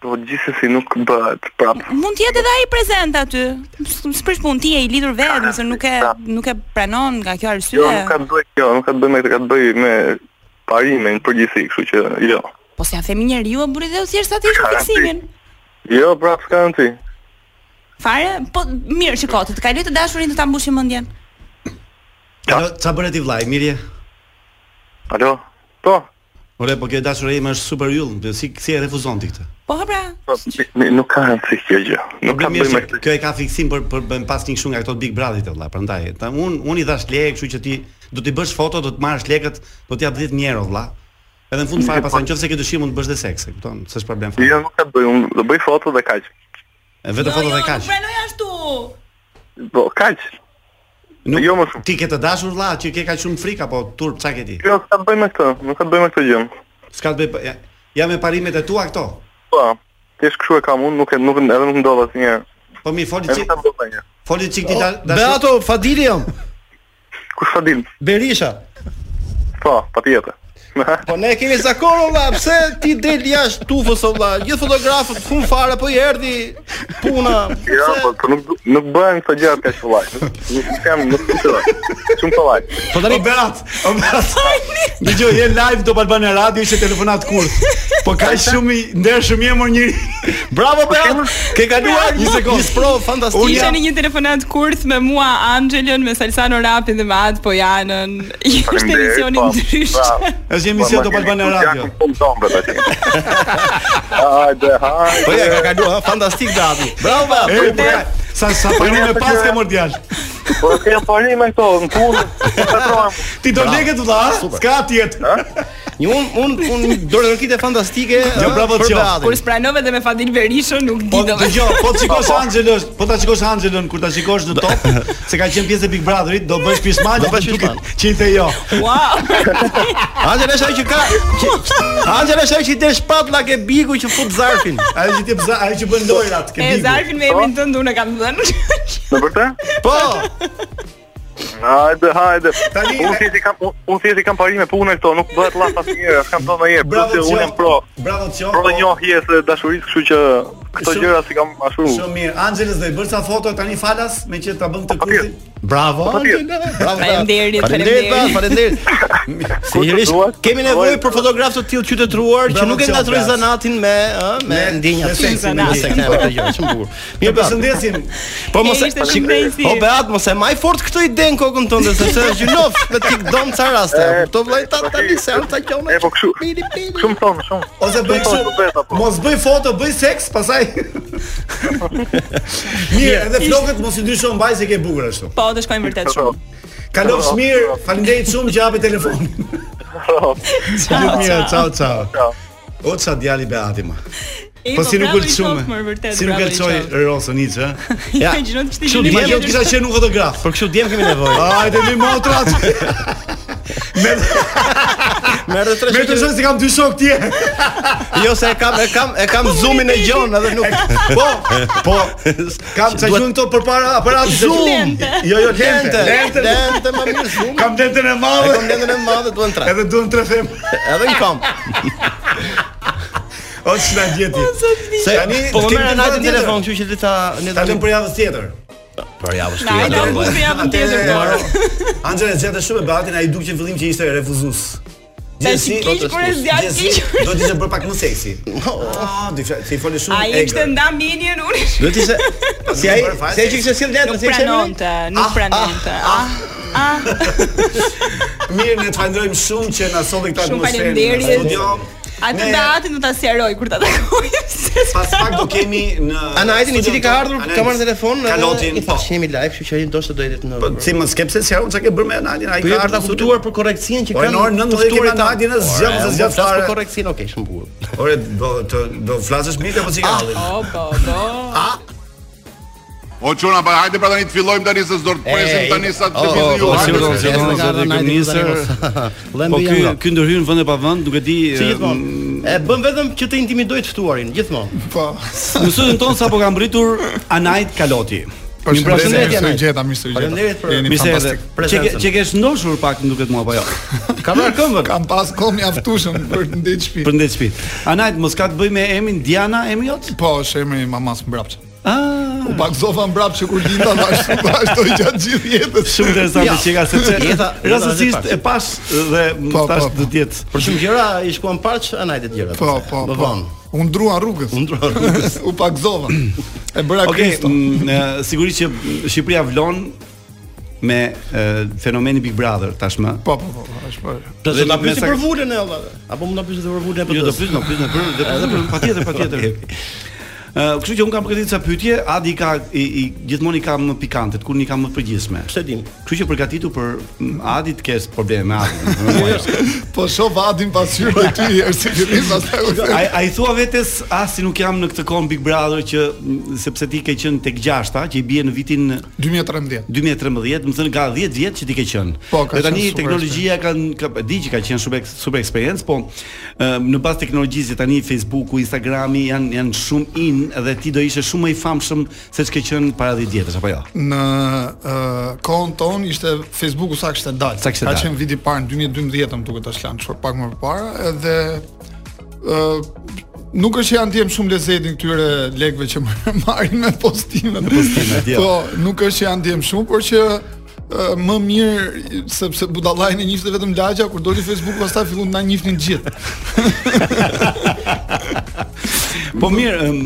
J: Po gjithsesi nuk bëhet pra- prap.
I: Mund të jetë edhe ai prezent aty. S- S'prish punë ti je i lidhur vetë, domethënë nuk e nuk e pranon nga kjo arsye.
J: Jo, nuk ka të bëj kjo, nuk ka të bëj me këtë, ka të bëj me parimin përgjithësi, kështu që jo.
I: Po si ja themi njeriu, e burri dhe thjesht aty është fiksimin.
J: Jo, prap s'ka rëndsi.
I: Fare, po mirë, shiko, të të kaloj të dashurin të ta mbushim mendjen.
F: Alo, Qa bërë ti vllai, mirje?
J: Alo? Po,
F: Ore, po kjo e dashura ime është super yll, si si e refuzon ti këtë?
I: Po ha pra.
J: po, mi- mi- nuk ka rëndsi kjo gjë. Nuk ka të
F: Problemi
J: bëj me
F: është që kjo e ka fiksim për për bën pas një kështu nga ato Big Brotherit e vëlla. Prandaj, ta un un i dhash lekë, kështu që ti do ti bësh foto, do të marrësh lekët, do t'jap 10 euro vëlla. Edhe në fund fare pastaj nëse ke dëshirë mund të bësh dhe seks, e kupton? S'është problem
J: Jo,
F: fare.
J: nuk ka të bëj, unë do bëj foto dhe kaq.
F: E vetë foto dhe
I: Jo, nuk
F: kaq.
I: pranoj ashtu.
J: Po, kaq.
F: Nuk
J: jo më shumë.
F: Ti ke të dashur vëlla, që ke kaq shumë frikë apo turp çka ke ti?
J: Jo, s'ka të bëj me këtë, nuk ka të bëj me këtë gjë.
F: S'ka të bëj pa- ja- ja me parimet e tua këto.
J: Po, thjesht kështu e kam unë, nuk e nuk edhe nuk ndodh asnjëherë.
F: Po mi foli
J: Edhe
F: çik,
J: nuk ka të bëj me një.
F: foli çik ti da- dashur.
G: Beato Fadili jam.
J: Kush ta din?
G: Berisha.
J: Po, patjetër.
G: Po ne kemi zakon olla, pse ti del jashtë tufës olla? Gjithë fotografët fun fare po i erdhi puna.
J: Ja, po, po nuk nuk bëhen këto gjëra kaq kollaj. Nuk kam nuk kuptoj. Shumë kollaj.
G: Po tani
F: Berat, o Berat. Dëgjoj, je live do Albania Radio, ishte telefonat kurt. Po ka shumë i ndershëm i emër njëri.
G: Bravo Berat. Po Ke kaluar një sekondë. Një sprov
I: Unë
G: fantastike.
I: jam në një telefonat kurth me mua Angelën, me Salsano Rapin dhe me Ad Pojanën. Ishte emisioni
J: po.
I: ndryshe.
F: Është një emision Top Albania Radio.
J: Shumë tombe tash. Hajde, hajde.
G: Po ja ka kaluar, ha, fantastik Dati. Bravo
F: E,
G: Berat.
F: po, ka- sa sa po
J: Po,
F: me
J: po,
F: pas
J: po,
F: ke mor djalë.
J: Po kem parë me këto në punë. Po trohem.
F: Ti do leket u dha, s'ka tjetër.
G: Një un un un dorëkite fantastike.
F: Jo,
G: ë,
F: bravo,
G: për
F: qoftë.
G: Beatin.
I: Kur spranove dhe me Fadil Berishën nuk
F: Po
I: di do.
F: dëgjoj, po të shikosh Angelën, po ta shikosh Angelën kur ta shikosh në top, se ka qenë pjesë e Big Brotherit, do bësh pismal, do
G: bësh
F: bësh
G: pismal.
F: Qinte jo.
I: Wow.
G: Angel është ajo që ka. që- Angel është ajo që i del shpatlla ke biku që fut zarfin.
F: Ai që ti bza, ai që bën lojrat, ke
I: E
F: bigu.
I: zarfin me emrin tënd unë e kam dhënë.
J: Në vërtet?
G: Po.
J: Hajde, hajde.
F: Tani-
J: unë thjesht i kam unë- unë thjesht i kam parime punë këto, nuk bëhet llafa asnjëherë, as kam thonë ndonjëherë.
F: Bravo
J: Bravo,
F: Qion.
J: unë jam pro.
F: Bravo Qion.
J: Pro
F: po,
J: njohjes e dashurisë, kështu që këto
F: Shumë-
J: gjëra si kam ashtu.
F: Shumë mirë. Angelës do i bërë sa foto tani falas, me që ta bëm të
J: mirë.
F: kurthi.
G: Bravo.
J: Faleminderit.
G: Angela, Bravo. Beat.
I: Faleminderit,
G: Faleminderit. Beat, Faleminderit. Sinqerisht,
J: duash,
G: kemi
J: kur të
G: nevojë
J: duash.
G: për fotografë të tillë qytetëruar që
F: Bravo,
G: nuk e
F: Qion,
G: ngatroj
F: Beat.
G: zanatin me ë me
F: Me-
G: ndjenjat
F: me seksin,
G: me
F: me
G: seksin me këtë gjë, shumë bukur.
F: Ju
G: Mirë, Beat.
F: përshëndesim.
G: Po mos e
I: ishte shumë knajsi.
G: Po Beat, mos e maj fort këtë ide në kokën tënde sepse është gjynof me tik dom ca raste.
J: E,
G: Kupto vllai ta tani se janë ta qona.
J: E, po kështu.
G: Pili, pili.
J: Shumë thonë, shumë.
F: Ose bëj
J: Shumë thonë, po.
F: kështu.
J: vërtet, apo.
F: Mos bëj foto, bëj seks, pasaj. mirë, edhe flokët mos i ndryshon mbaj se ke bukur ashtu.
I: Po, do shkojmë vërtet shumë.
F: Kalofsh mirë, faleminderit shumë që hapi telefonin.
J: po,
F: Ciao, mirë, ciao, ciao.
J: Ciao.
F: O ça djali Beati ma.
I: E,
F: Po si nuk
I: bravo i
F: ulçume.
I: qoftë, mërë, vërtet,
F: Si nuk
I: bravo i
F: ulçoj
I: qoftë.
F: Rosën hiç, ë?
G: Ja.
I: Ka gjinot kështu
G: Kështu
I: gjinot
G: djem
F: Jo
I: kështu.
F: kisha qenë unë fotograf.
G: Për Po kështu djem kemi nevojë.
F: Hajde mi motrat.
G: Merë tre
F: Me të
G: shoqë.
F: shoh si kam dy shok tjerë.
G: Jo se e kam e kam e kam zoomin e gjon edhe nuk.
F: Po, po. Kam ca
G: Duhet-
F: gjun këto përpara aparatit të
G: Zoom.
F: Jo, jo, lente.
G: Lente, lente më mirë zoom.
F: Kam lentën e
G: E
F: madhe.
G: kam lentën e madhe duan tre.
F: Edhe duan tre them.
G: Edhe një kam.
F: O çna gjeti.
G: Se
F: Tani,
G: po më
F: kemi
G: merr
F: të
G: natë
F: vërtetën.
G: telefon, kështu që le ta le ta
F: Ta lëm për javën tjetër.
G: për javë
I: Na, e da buzë javën tjetër.
F: Maro. Anxhela zgjat shumë e Beatin, ai duk që në fillim që ishte refuzues. Gjithsesi,
I: Tash kish, por e zgjat
F: gjithsesi,
I: kish.
F: do të ishte bërë pak më seksi. Ah, di fjalë, ti fole shumë
I: Ai ishte nda minjen unë.
G: Duhet ishte si ai
F: bërë fare
G: si ai
F: seksi.
G: që kishte sjell lentën,
I: Nuk
G: si ishte emri?
I: pranonte, nuk pranonte. Ah, ah,
F: Mirë, ne të falenderojmë shumë që na solli këtë
I: Shumë
F: atmosferë. në
I: faleminderit.
F: Studio.
I: atë
F: Ne-
I: datin do ta sqaroj kur ta takoj.
F: Pas pak do kemi në
G: Anajtin i cili ka ardhur,
F: Anajt,
G: ka marrë telefon, edhe
F: Kalotin,
G: i
F: po.
G: tha që jemi live, kështu që ai ndoshta do jetë në
F: Po si më skepse se çka ke bërë me Anajtin, ai
G: Po
F: ka
G: jo ta
F: ardhur
G: kuptuar për korrektësinë që
F: Po, e
G: kanë.
F: në orën 19
G: tuftuarit
F: kemi Nadjen e
G: tanë.
F: zgjat,
G: Ore,
F: se
G: unë
F: zgjat
G: flas
F: fare. Oh,
G: Për korrektësinë, okay, shumë bukur.
F: Ore, do të do flasësh mirë apo si ka ardhur?
I: Po, po, po.
H: O çuna, pa hajde pra tani të fillojmë tani se s'do të presim tani sa
F: oh,
H: të vizë ju.
G: po,
H: hajde,
G: sigurisht,
H: se-
G: sigurisht.
H: se-
G: ka ardhur Nadi,
F: Po
G: Lëmbi
F: ky mm, ky ndërhyn vend e pa vend, duke di
G: Si gjithmonë. E bën vetëm që të intimidoj të ftuarin, gjithmonë.
F: Në studion ton sapo ka mbritur Anajt Kaloti.
G: Përshëndetje,
K: Përshëndetje,
G: Nai.
K: mirë gjeta, mirë se u
G: Faleminderit
K: gjeta.
G: për-
K: Jeni
F: Mirë se edhe.
K: fantastik.
F: Çe
G: Prezencën.
F: çe kesh ndoshur pak më duket mua apo jo?
G: Ka marrë këmbën.
K: Kam pas kohë mjaftueshëm për të ndetë
F: Për
K: shtëpi.
F: ndet shtëpi. Anajt mos ka të bëj me emrin Diana, emri jot?
K: Po, është emri i mamas mbrapsht.
F: Ah,
K: U bagzova mbrapsht që kur linda vazhdo vazhdoi gjatë gjithë jetës.
F: shumë interesante
G: Ja.
F: që ka sepse
G: Jeta- jeta
F: rastësisht
G: është e
F: e pas dhe
K: Po,
F: tash
K: po, po.
F: do të jetë.
G: Për shumë gjëra i shkuan parç anajtit gjërat.
K: Po, po,
G: Më
K: po.
G: vonë.
K: U ndrua rrugës.
G: U ndrua rrugës.
K: U bagzova. E bëra
F: Okej,
K: Kristo.
F: m, e, sigurisht që Shqipëria vlon me e, fenomenin Big Brother tashmë.
K: Po, po, po, po, është po.
G: Do
F: Dhe
G: të na
F: me
G: pyesi
F: sa-
G: për vulën e valla. Apo mund ta pyesi për vulën e PD-s.
F: Jo, do pyes, do pyes, do pyes, do pyes, patjetër, patjetër. Ë, kështu që un kam përgatitur ca pyetje, Adi ka i, i gjithmonë i kam më pikante, kur i kam më përgjithshme.
G: Pse dim?
F: Kështu që përgatitu për m, Adi të kesh probleme me Adin.
K: Po shoh vadin pasyrë dhe ty herë si fillim pastaj u the.
F: Ai ai thua vetes, "A si nuk jam në këtë kon Big Brother që m, sepse ti ke qenë tek gjashta, që i bie në vitin
K: 2013.
F: 2013, më thënë ka 10 vjet që ti ke qenë.
K: Po, ka
F: Dhe tani
K: qenë super
F: teknologjia kanë ka di që ka qenë shumë eks- super experience, po ëm, në bazë teknologjisë që tani Facebooku, Instagrami janë janë shumë in dhe ti do ishe shumë më i famshëm se ç'ke qenë para 10 vjetësh apo jo.
K: Në uh, kohën tonë ishte Facebooku sa kishte dalë.
F: Sa kishte
K: Ka
F: dalë.
K: qenë viti parë në 2012, më duket tash lan, çfarë pak më parë, edhe ë nuk është që janë ndjem shumë lezetin këtyre lekëve që më- marrin me postime. Me
F: postime, dje.
K: Po, nuk është që janë ndjem shumë, por që ë, më mirë sepse budallajin e njifte vetëm lagja kur doli Facebook pastaj fillon na njifnin gjithë.
F: Po mirë, ëm,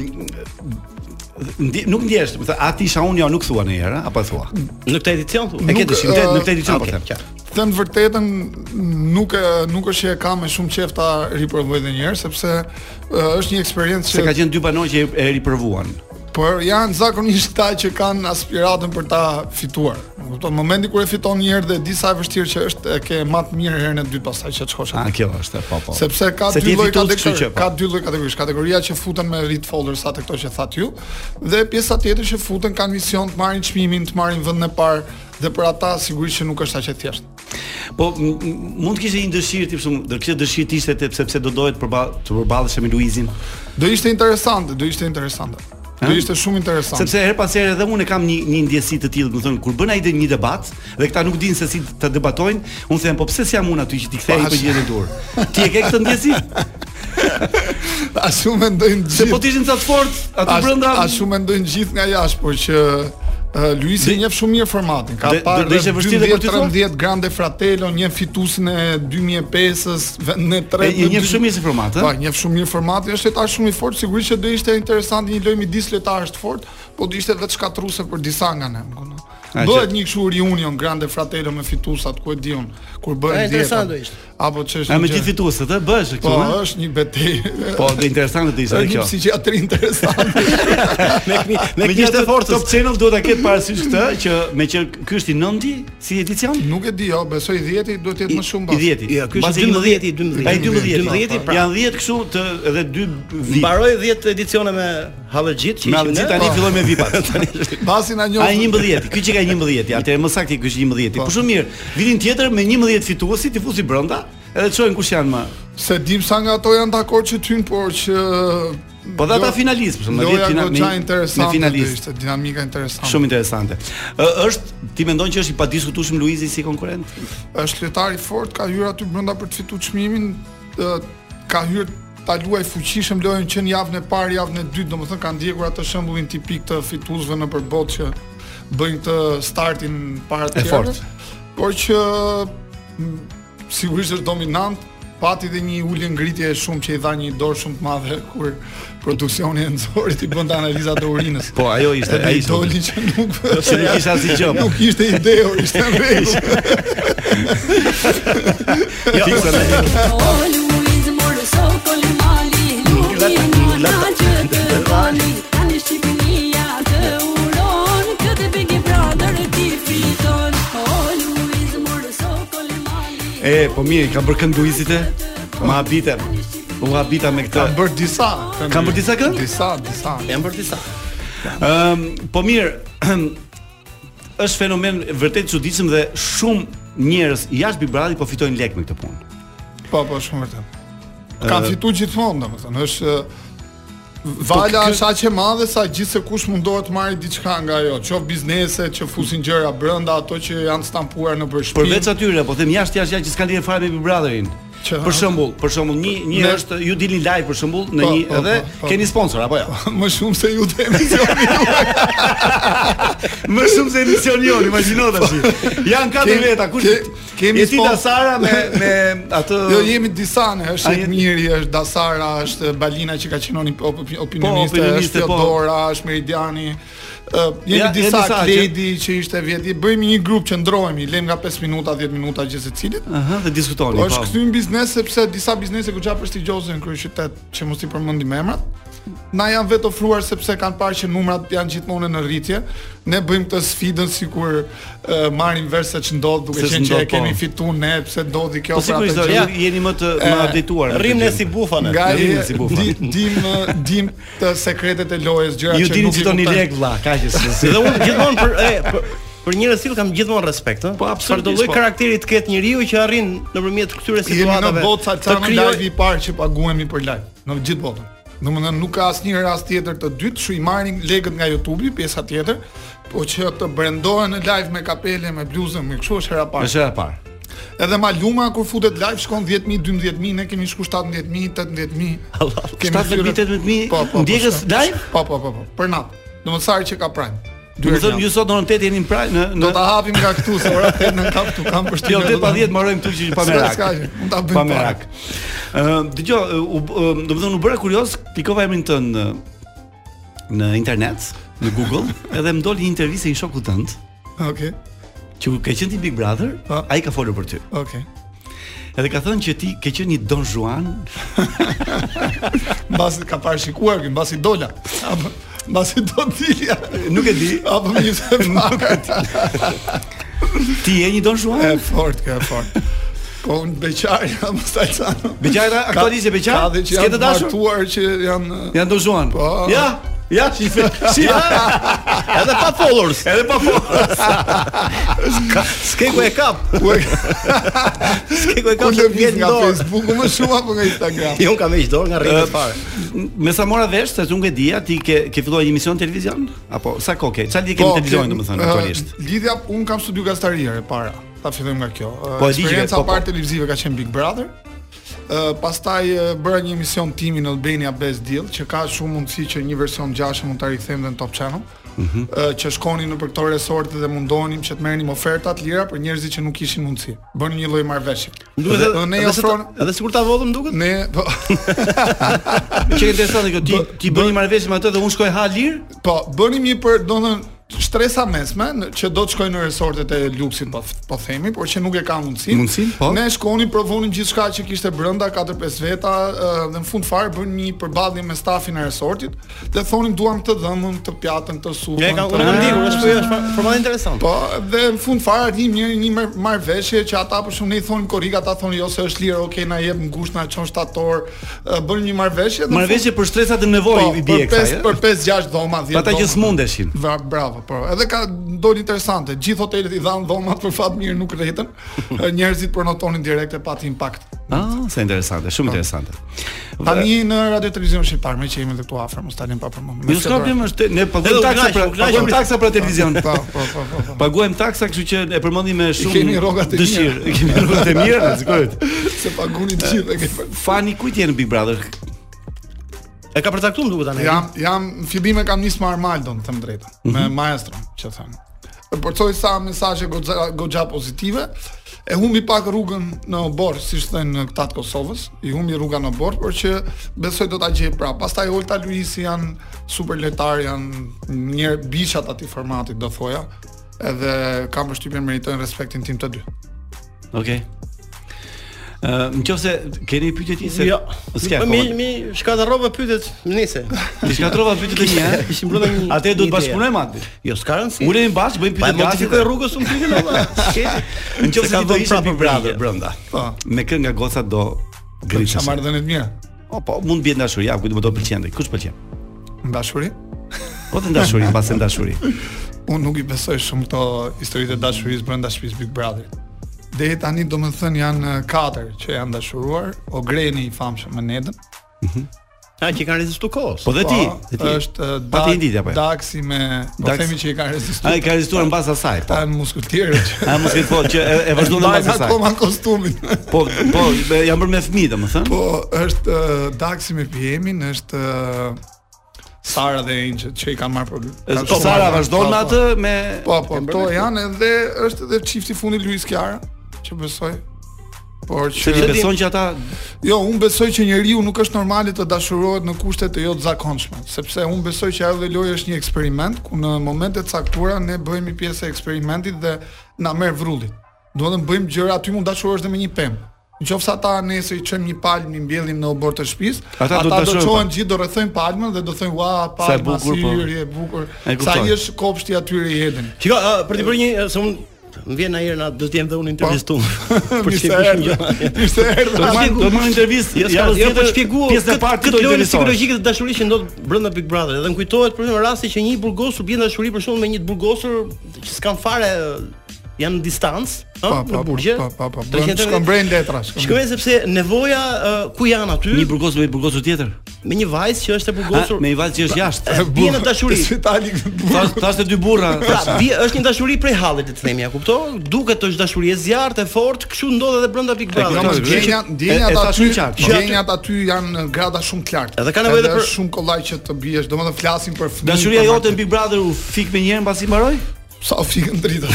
F: ndi, nuk ndjesh, do të thë, a ti isha unë jo nuk thua në herë, apo e thua?
G: Në këtë edicion thua?
F: E ke
K: Nuk,
F: dëshim, në këtë- në
K: ë,
F: këtë edicion po
K: okay,
F: them.
K: Them të vërtetën, nuk e- nuk është që e kam me shumë qejf ta riprovoj edhe një herë sepse ë, është një eksperiencë
F: Se ka qenë dy banoj që e- e ripërvuan.
K: por janë zakonisht ta që kanë aspiratën për ta fituar. Në kupton, momenti kur e fiton një herë dhe e di sa e vështirë që është e ke më të mirë herën e dytë pastaj që të shkosh.
F: A kjo është, po po.
K: Sepse ka
F: Se ti
K: dy
F: e
K: lloj
F: fitu, kështu
K: kategori,
F: që, po.
K: ka dy lloj kategorish, kategoria që futen me read folders atë këto që thatë ju, dhe pjesa tjetër që futen kanë mision të marrin çmimin, të marrin vendin e parë dhe për ata sigurisht që nuk është aq e thjeshtë.
F: Po m- m- mund të kishte një dëshirë ti shumë, do kishte dëshirë të ishte te- sepse do dohet përba- të përballesh me Luizin.
K: Do ishte interesante, do ishte interesante. Do ishte shumë interesante.
F: Sepse her pas here edhe unë kam një një ndjesi të tillë, do të thonë kur bën ai dhe një debat dhe këta nuk dinë se si ta debatojnë, unë them po pse si jam unë aty që ti kthej
K: Pash.
F: për gjithë dur. Ti e ke këtë ndjesi?
K: A shumë mendojnë gjithë.
F: Se po të ishin ca të fortë aty
K: As-
F: brenda.
K: A shumë mendojnë gjithë nga jashtë, por që uh, Luisi njeh shumë mirë formatin. Ka
F: dhe-
K: parë
F: do- do ishte vështirë dhe po për ty thua?
K: 13 Grande Fratello, një fituesin e 2005-s, ve- në 3.
F: E- e njeh shumë mirë si format, ë?
K: Po, njeh shumë mirë formatin, është lojtar shumë i fortë, sigurisht që do ishte interesant një lojë midis lojtarësh të fortë, po do ishte vetë shkatruese për disa nga ne, më kupton.
F: A,
K: Bëhet një kështu reunion Grande Fratello me fituesat ku e diun, kur
F: A,
K: bëhen 10.
F: interesant do ishte.
K: Apo ç'është?
F: A
K: një
F: me
K: gjë-
F: gjithë fituesët, ë, bëhesh këtu.
K: Po,
F: ë?
K: është një betejë.
F: Po, do interesante të ishte
K: Është
F: kjo.
K: Një psikiatri interesant.
F: Me
K: gjithë
F: gjithë
K: të
F: forcës. Top Channel duhet ta ketë parasysh këtë që me që ky është i 9-ti si edicion?
K: Nuk e di, jo, besoj 10-ti duhet të jetë më shumë
F: I 10-ti.
G: Ja, ky është
F: Mbasi
G: 12-ti,
F: 12-ti. Ai 12-ti.
G: 12-ti, pra.
F: Janë 10 kështu të edhe dy vip.
G: Mbaroj 10 edicione me Hallëxhit që
F: Me
G: ishin.
F: gjithë tani filloj me vipat. Tani
K: Basi na njoh.
F: Ai 11, ky që ka 11, atëherë më saktë ky është 11. Po shumë mirë. Vitin tjetër me 11 fituesi ti fusi brenda, edhe çojnë kush janë më.
K: Se dim sa nga ato janë dakord që ty, por që
F: Po dhe ata finalist, për shembull,
K: Jo. loja
F: vjetin
K: goxha
F: me- me
K: interesante
F: finalist.
K: do Ishte dinamika interesante.
F: Shumë interesante. Ë, është ti mendon që është i padiskutueshëm Luizi si konkurrent?
K: Është lojtar i fortë, ka hyrë aty brenda për të fituar çmimin, ë, ka hyrë ta luaj fuqishëm lojën që në javën e parë, javën e dytë, domethënë ka ndjekur atë shembullin tipik të fituesve në përbot që bëjnë të startin para të
F: E
K: tjerëve.
F: fortë.
K: Por që m, sigurisht është dominant, pati dhe një ulje ngritje shumë që i dha një dorë shumë të madhe kur produksioni e Enzorit i bën të analiza të urinës.
F: Po, ajo ishte,
K: Edhe
F: ai
K: i
F: ishte.
K: doli që nuk
F: Që nuk ishte asnjë gjë. po.
K: Nuk ishte ideo, ishte në rregull.
F: Fiksa na E, po mirë, ka bërë këngë Luizit e? Ma habitem. U habita me këtë.
K: Ka bërë disa.
F: Ka bërë disa këngë?
K: Disa, disa.
G: Jam për disa.
F: Ëm, po mirë, është fenomen vërtet çuditshëm dhe shumë njerëz jashtë Big Brotherit po fitojnë lek me këtë punë.
K: Po, po, shumë vërtet.
F: Ë,
K: Ka
F: po
K: fituar gjithmonë, domethënë, është ë, Vala
F: kë-
K: është aq e madhe sa gjithse kush mundohet të marrë diçka nga ajo, qoftë biznese që fusin gjëra brenda, ato që janë stampuar në përshpim.
F: Përveç atyre, po them jashtë jashtë jashtë që s'kan lidhje fare me Big Brotherin.
K: Që-
F: Për shembull, për shembull, një një
K: Ne-
F: është ju dilni live për shembull në
K: Po,
F: një
K: po,
F: edhe
K: po, po.
F: keni sponsor apo jo?
K: më shumë se ju të emisioni.
F: Më shumë se emisioni jon, imagjino tash. Janë katër
K: Kem-
F: veta, kush
K: ke- kemi
F: jeti
K: sponsor-
F: da Sara me me atë
K: Jo, jemi disa ne, është
F: A jeni-
K: Edmiri, është Dasara, është Balina që ka qenë op- op-
F: Po,
K: opinioniste,
F: opinioniste,
K: është
F: po.
K: Teodora, është Meridiani. Uh, jemi
F: Ja, janë
K: disa,
F: disa që-
K: Kledi që... ishte vjet. Bëjmë një grup që ndrohemi, lëm nga 5 minuta, 10 minuta gjithë secilit.
F: Aha, dhe diskutoni.
K: Po është
F: po.
K: kthy në biznes sepse disa biznese goxha prestigjioze në kryeqytet, që mos i përmendim emrat, na janë vetë ofruar sepse kanë parë që numrat janë gjithmonë në rritje. Ne bëjmë këtë sfidën sikur e, marrim vesh se ç'ndodh, duke
F: Se
K: qenë që
F: ç'ndodh,
K: e kemi
F: po.
K: fituar ne, pse ndodhi kjo
F: Po sigurisht do,
K: gjë.
F: ju jeni më të më
K: E,
F: updateuar. me
G: Rrim
F: këtë
G: ne
F: gjë.
G: si bufa ne.
K: Nga
F: Nga
K: i
F: një si bufa.
K: di, dim dim të sekretet e lojës gjëra
F: Ju
K: që
F: dini
K: nuk i
F: çitoni
K: kuptoj.
F: lek vlla, kaq e s'e.
G: Dhe unë gjithmonë për e për për njerëz sill kam gjithmonë respekt, ëh. Po
F: absolutisht,
G: Çdo lloj
F: po.
G: karakteri të ketë njeriu që arrin nëpërmjet këtyre
K: Jemi në
G: situatave.
K: botë
G: të
K: Salcano
G: krijoj-
K: live i parë që paguhemi për live, në gjithë botën. Domethënë nuk ka asnjë rast tjetër të dytë, shu i marrin legët nga YouTube-i, pjesa tjetër, po që të brendohen në live me kapele, me bluzën, me kështu është hera e parë.
F: Është e parë.
K: Edhe Maluma kur futet live shkon 10000, 12000, ne kemi shku 17000, 18000.
G: Allah, 17000, 18000 ndjekës live?
K: Po, po, po, po. Për natë. Domethënë që ka prime.
F: Do të thonë ju sot në orën 8 jeni në praj në,
K: Do ta hapim nga këtu se ora 8 në kap këtu kam përshtypjen.
F: Jo 8 pa 10 mbarojmë këtu që pa merak.
K: S'ka gjë, mund ta bëjmë
F: Pa merak. Ë dëgjoj, u do të thonë u bëra kurioz, klikova emrin tënd në në internet, në Google, edhe më doli një intervistë e një shokut tënd.
K: Okej.
F: Që kur ka qenë ti Big Brother,
K: Po.
F: ai ka folur për ty.
K: Okej.
F: Edhe ka thënë që ti ke qenë një Don Juan.
K: Mbasi ka parë shikuar, kë, mbasi dola. Apo mbasi do dilja.
F: Nuk e di.
K: Apo më jep
F: Nuk e di. Ti je një Don Juan?
K: E fort, ka e fort. Po unë beqar jam Salsano.
F: Beqara aktualisht e beqar?
K: Ka dhe që
F: S'ke të
K: janë
F: dashur?
K: martuar që janë
F: Janë Don Juan.
K: Po.
F: Ja, ja, si si
G: Edhe pa followers.
F: Edhe pa followers.
G: Ka- S'ke ku e kap.
K: Ku e
G: S'ke ku e
K: ku
G: kap.
K: lëviz nga
G: dorë.
K: Facebooku më shumë apo nga Instagram?
G: Jo, unë kam heq dorë nga rrjetet fare.
F: Me sa mora vesh se unë e dija ti ke ke filluar një emision në televizion apo sa kohë ke? Sa
K: Po,
F: ditë ke në televizion domethënë
K: ë,
F: aktualisht?
K: eh, Lidhja un kam studiu gazetarie para. Ta fillojmë nga kjo. Ë,
F: Po, e di që ke-
K: Eksperienca
F: po, po.
K: parë televizive ka qenë Big Brother. Ë pastaj ë, bëra një emision timi në Albania Best Deal që ka shumë mundësi që një version 6 mund ta rikthejmë dhe në Top Channel. Mhm. që shkonin në për këto resorte dhe mundonim që të merrnim oferta të lira për njerëzit që nuk kishin mundësi. Bënë një lloj marrëveshje.
G: Duhet
K: po, Dhe-
G: edhe
K: dhe ne
G: edhe se ta-
K: ofron
G: edhe sikur ta vodhëm duket.
K: ne po,
F: Që e interesante kjo ti ti bën një marrëveshje me atë dhe unë shkoj ha lir?
K: po bënim një për domethënë shtresa mesme në- që do të shkojnë në resortet e luksit po po themi, por që nuk e kanë mundësinë.
F: Mundësinë, po.
K: Ne shkonim, provonim gjithçka që kishte brenda 4-5 veta ë, dhe në fund fare bën një përballje me stafin e resortit dhe thonim duam këtë dhëmën, këtë pjatën, këtë supën.
G: Ja, e ka-
K: këtë-
G: unë kam ndjekur, është po është format interesant.
K: Po, dhe në fund fare arrim një një mar- marrëveshje që ata për shkak ne i thonin korrika, ata thonin jo se është lirë, okay, na jep ngushtë, na çon shtator, ë, bën një marrëveshje. dhe në
F: po,
K: fund-
F: Marrëveshje për stresat e nevojë i bie
K: Po, për 5
F: kësaj.
K: për 5 6 dhoma 10
F: Për ata që smundeshin.
K: Va, bravo, po. Edhe ka doli interesante. Gjithë hotelet i dhanë dhomat për fat mirë nuk rreten. Njerëzit prenotonin direkt e pati impakt.
F: Ah, sa interesante, shumë interesante.
K: Po. Tani në radio televizion shqiptar më që jemi këtu afër, mos talim pa përmend.
F: Jo s'ka problem është ne
G: pra? Edhe
F: paguajmë
G: u
F: taksa
G: knaqem,
F: për
G: u knaqem.
F: paguajmë taksa për televizion.
K: Po, po, po, po. po.
F: Paguajmë taksa, kështu që e përmendim me shumë
K: kemi rrogat e mira.
F: dëshirë. E Kemi rrogat e mira, në sigurisht.
K: Se pagunin të gjithë e ke për.
F: Fani kujt je në Big Brother?
G: E ka përcaktuar duket tani.
K: Jam jam në fillim e kam nis me Armaldon, të them drejtën, me maestron, që them. Përcoj sa mesazhe goxha goxha pozitive. E humbi pak rrugën në oborr, siç thënë në këta të Kosovës, i humbi rruga në oborr, por që besoj do ta gjej prapë. Pastaj Olta Luisi janë super lojtar, janë një bishat aty formatit do thoja, edhe kam përshtypjen meritojnë respektin tim të dy.
F: Okej. Ë, në qoftë se keni pyetje ti se
G: Jo.
F: s'ke
G: Mi
F: akoma.
G: mi shka të rrova pyetjet nese.
F: Ti s'ka trova pyetje të mia. eh?
G: Kishim brenda një. një
F: Atë do të
G: ide.
F: bashkunojmë atë.
G: Jo, s'ka rëndsi.
F: Ulemi bashkë, bëjmë
G: Pa e
F: pyetje
G: modifikoj rrugës unë pikën olla.
F: Në qoftë se ti do ishe Big Brother brenda.
K: Po.
F: Me kë nga goca do
K: Sa
F: grishesh?
K: marrëdhënie të mira.
F: O po, mund bie dashuri, ja, kujt më do pëlqente. Kush pëlqen?
K: Në dashuri,
F: Po të dashuri, pas të dashuri.
K: unë nuk i besoj shumë këto historitë e dashurisë brenda shtëpisë Big Brother. Deri tani do të thënë janë eh, katër që janë dashuruar, Ogreni i famshëm me Nedën.
G: Ha, që kanë rezistuar kohës.
F: Po dhe ti,
K: Pa,
F: dhe ti.
K: Është eh,
F: Pa ti
K: Dag-
F: ndit apo? jo?
K: Daksi me, po
F: Daksi.
K: themi që i kanë
F: Ai
K: rezistuar.
F: ka rezistuar mbas asaj. Po.
K: Ta janë muskutierë që
F: A mos ke thotë që e- e vazhdon dhe mbas
K: mbajnë
F: asaj.
K: akoma kostumin.
F: Po, po, me- jam bërë me fëmijë domethënë.
K: Po, është eh, Daksi me Pjemin, është eh, Sara dhe Inçet që i kanë marrë për. kanë
F: Po,
K: shumë
F: Sara
K: marrë.
F: vazhdon
K: Po,
F: me
K: po.
F: atë me
K: Po, po, to janë edhe është edhe çifti fundi Luis Kiara, që besoj. Por
F: Se
K: që
F: ti beson që ata
K: jo, unë besoj që njeriu nuk është normale të dashurohet në kushte të jo të zakonshme, sepse unë besoj që ajo dhe loja është një eksperiment ku në momente të caktuara ne bëhemi pjesë e eksperimentit dhe na merr vrullit. Do të thënë bëjmë gjëra aty mund dashurohesh edhe me një pemë. Në qoftë se ata nesër i çojmë një palmë, i mbjellim në obor të shtëpisë,
F: Ata do të
K: do
F: dashurojnë
K: çohen gjithë, do rrethojnë palmën dhe do thonë ua,
F: Sa e
K: palma,
F: bukur,
K: si
F: po."
K: yri e bukur.
F: E kuptoj.
K: Sa i është kopshti atyre i Edenit.
G: Shiko, ë, për të bërë një ë, se unë më vjen ajër na do të jem dhe unë intervistuar.
F: Po.
G: Për
K: Mirë
G: të
K: se
G: bërë
K: erdhe.
G: një
K: Mirë se erdhe.
F: do të marrin-
G: shpjegu.
F: do të marrin intervistë,
G: Jo,
F: ja,
G: s'ka
F: ja
G: vëzhgim të
F: për
G: shpjegoj
F: pjesën e parë të
G: këtë lojën
F: interesore.
G: psikologjike të dashurisë që ndodh brenda Big Brother. Edhe më kujtohet për një rasti që një burgosur bën dashuri për shkakun me një të burgosur që s'kan fare janë në distancë ëh, në burgje.
K: Po, po, po. bën- Shkëmbrejnë letra,
G: Shkëmbrej sepse nevoja ë, ku janë aty? Një burgos me burgosu tjetër. Me një vajzë që është e burgosur.
F: A, me një vajzë që është jashtë.
G: Bie në dashuri.
F: Si tali Tash të dy burra.
G: Pra, bie është një dashuri prej hallit, le të themi, a kupton? Duket është dashuri e zjarrt, e fortë, kështu ndodhet edhe brenda Big Brother.
K: Domos ndjenjat, ndjenjat aty,
G: Ndjenjat
K: ndjenjat aty janë në grada shumë të lartë.
G: Edhe ka nevojë edhe për-
K: është shumë kollaj që të biesh, domethënë flasim për fëmijë.
F: Dashuria
K: për
F: jote në Big Brother u fik me njërin pasi mbaroi?
K: Sa u fikën drita?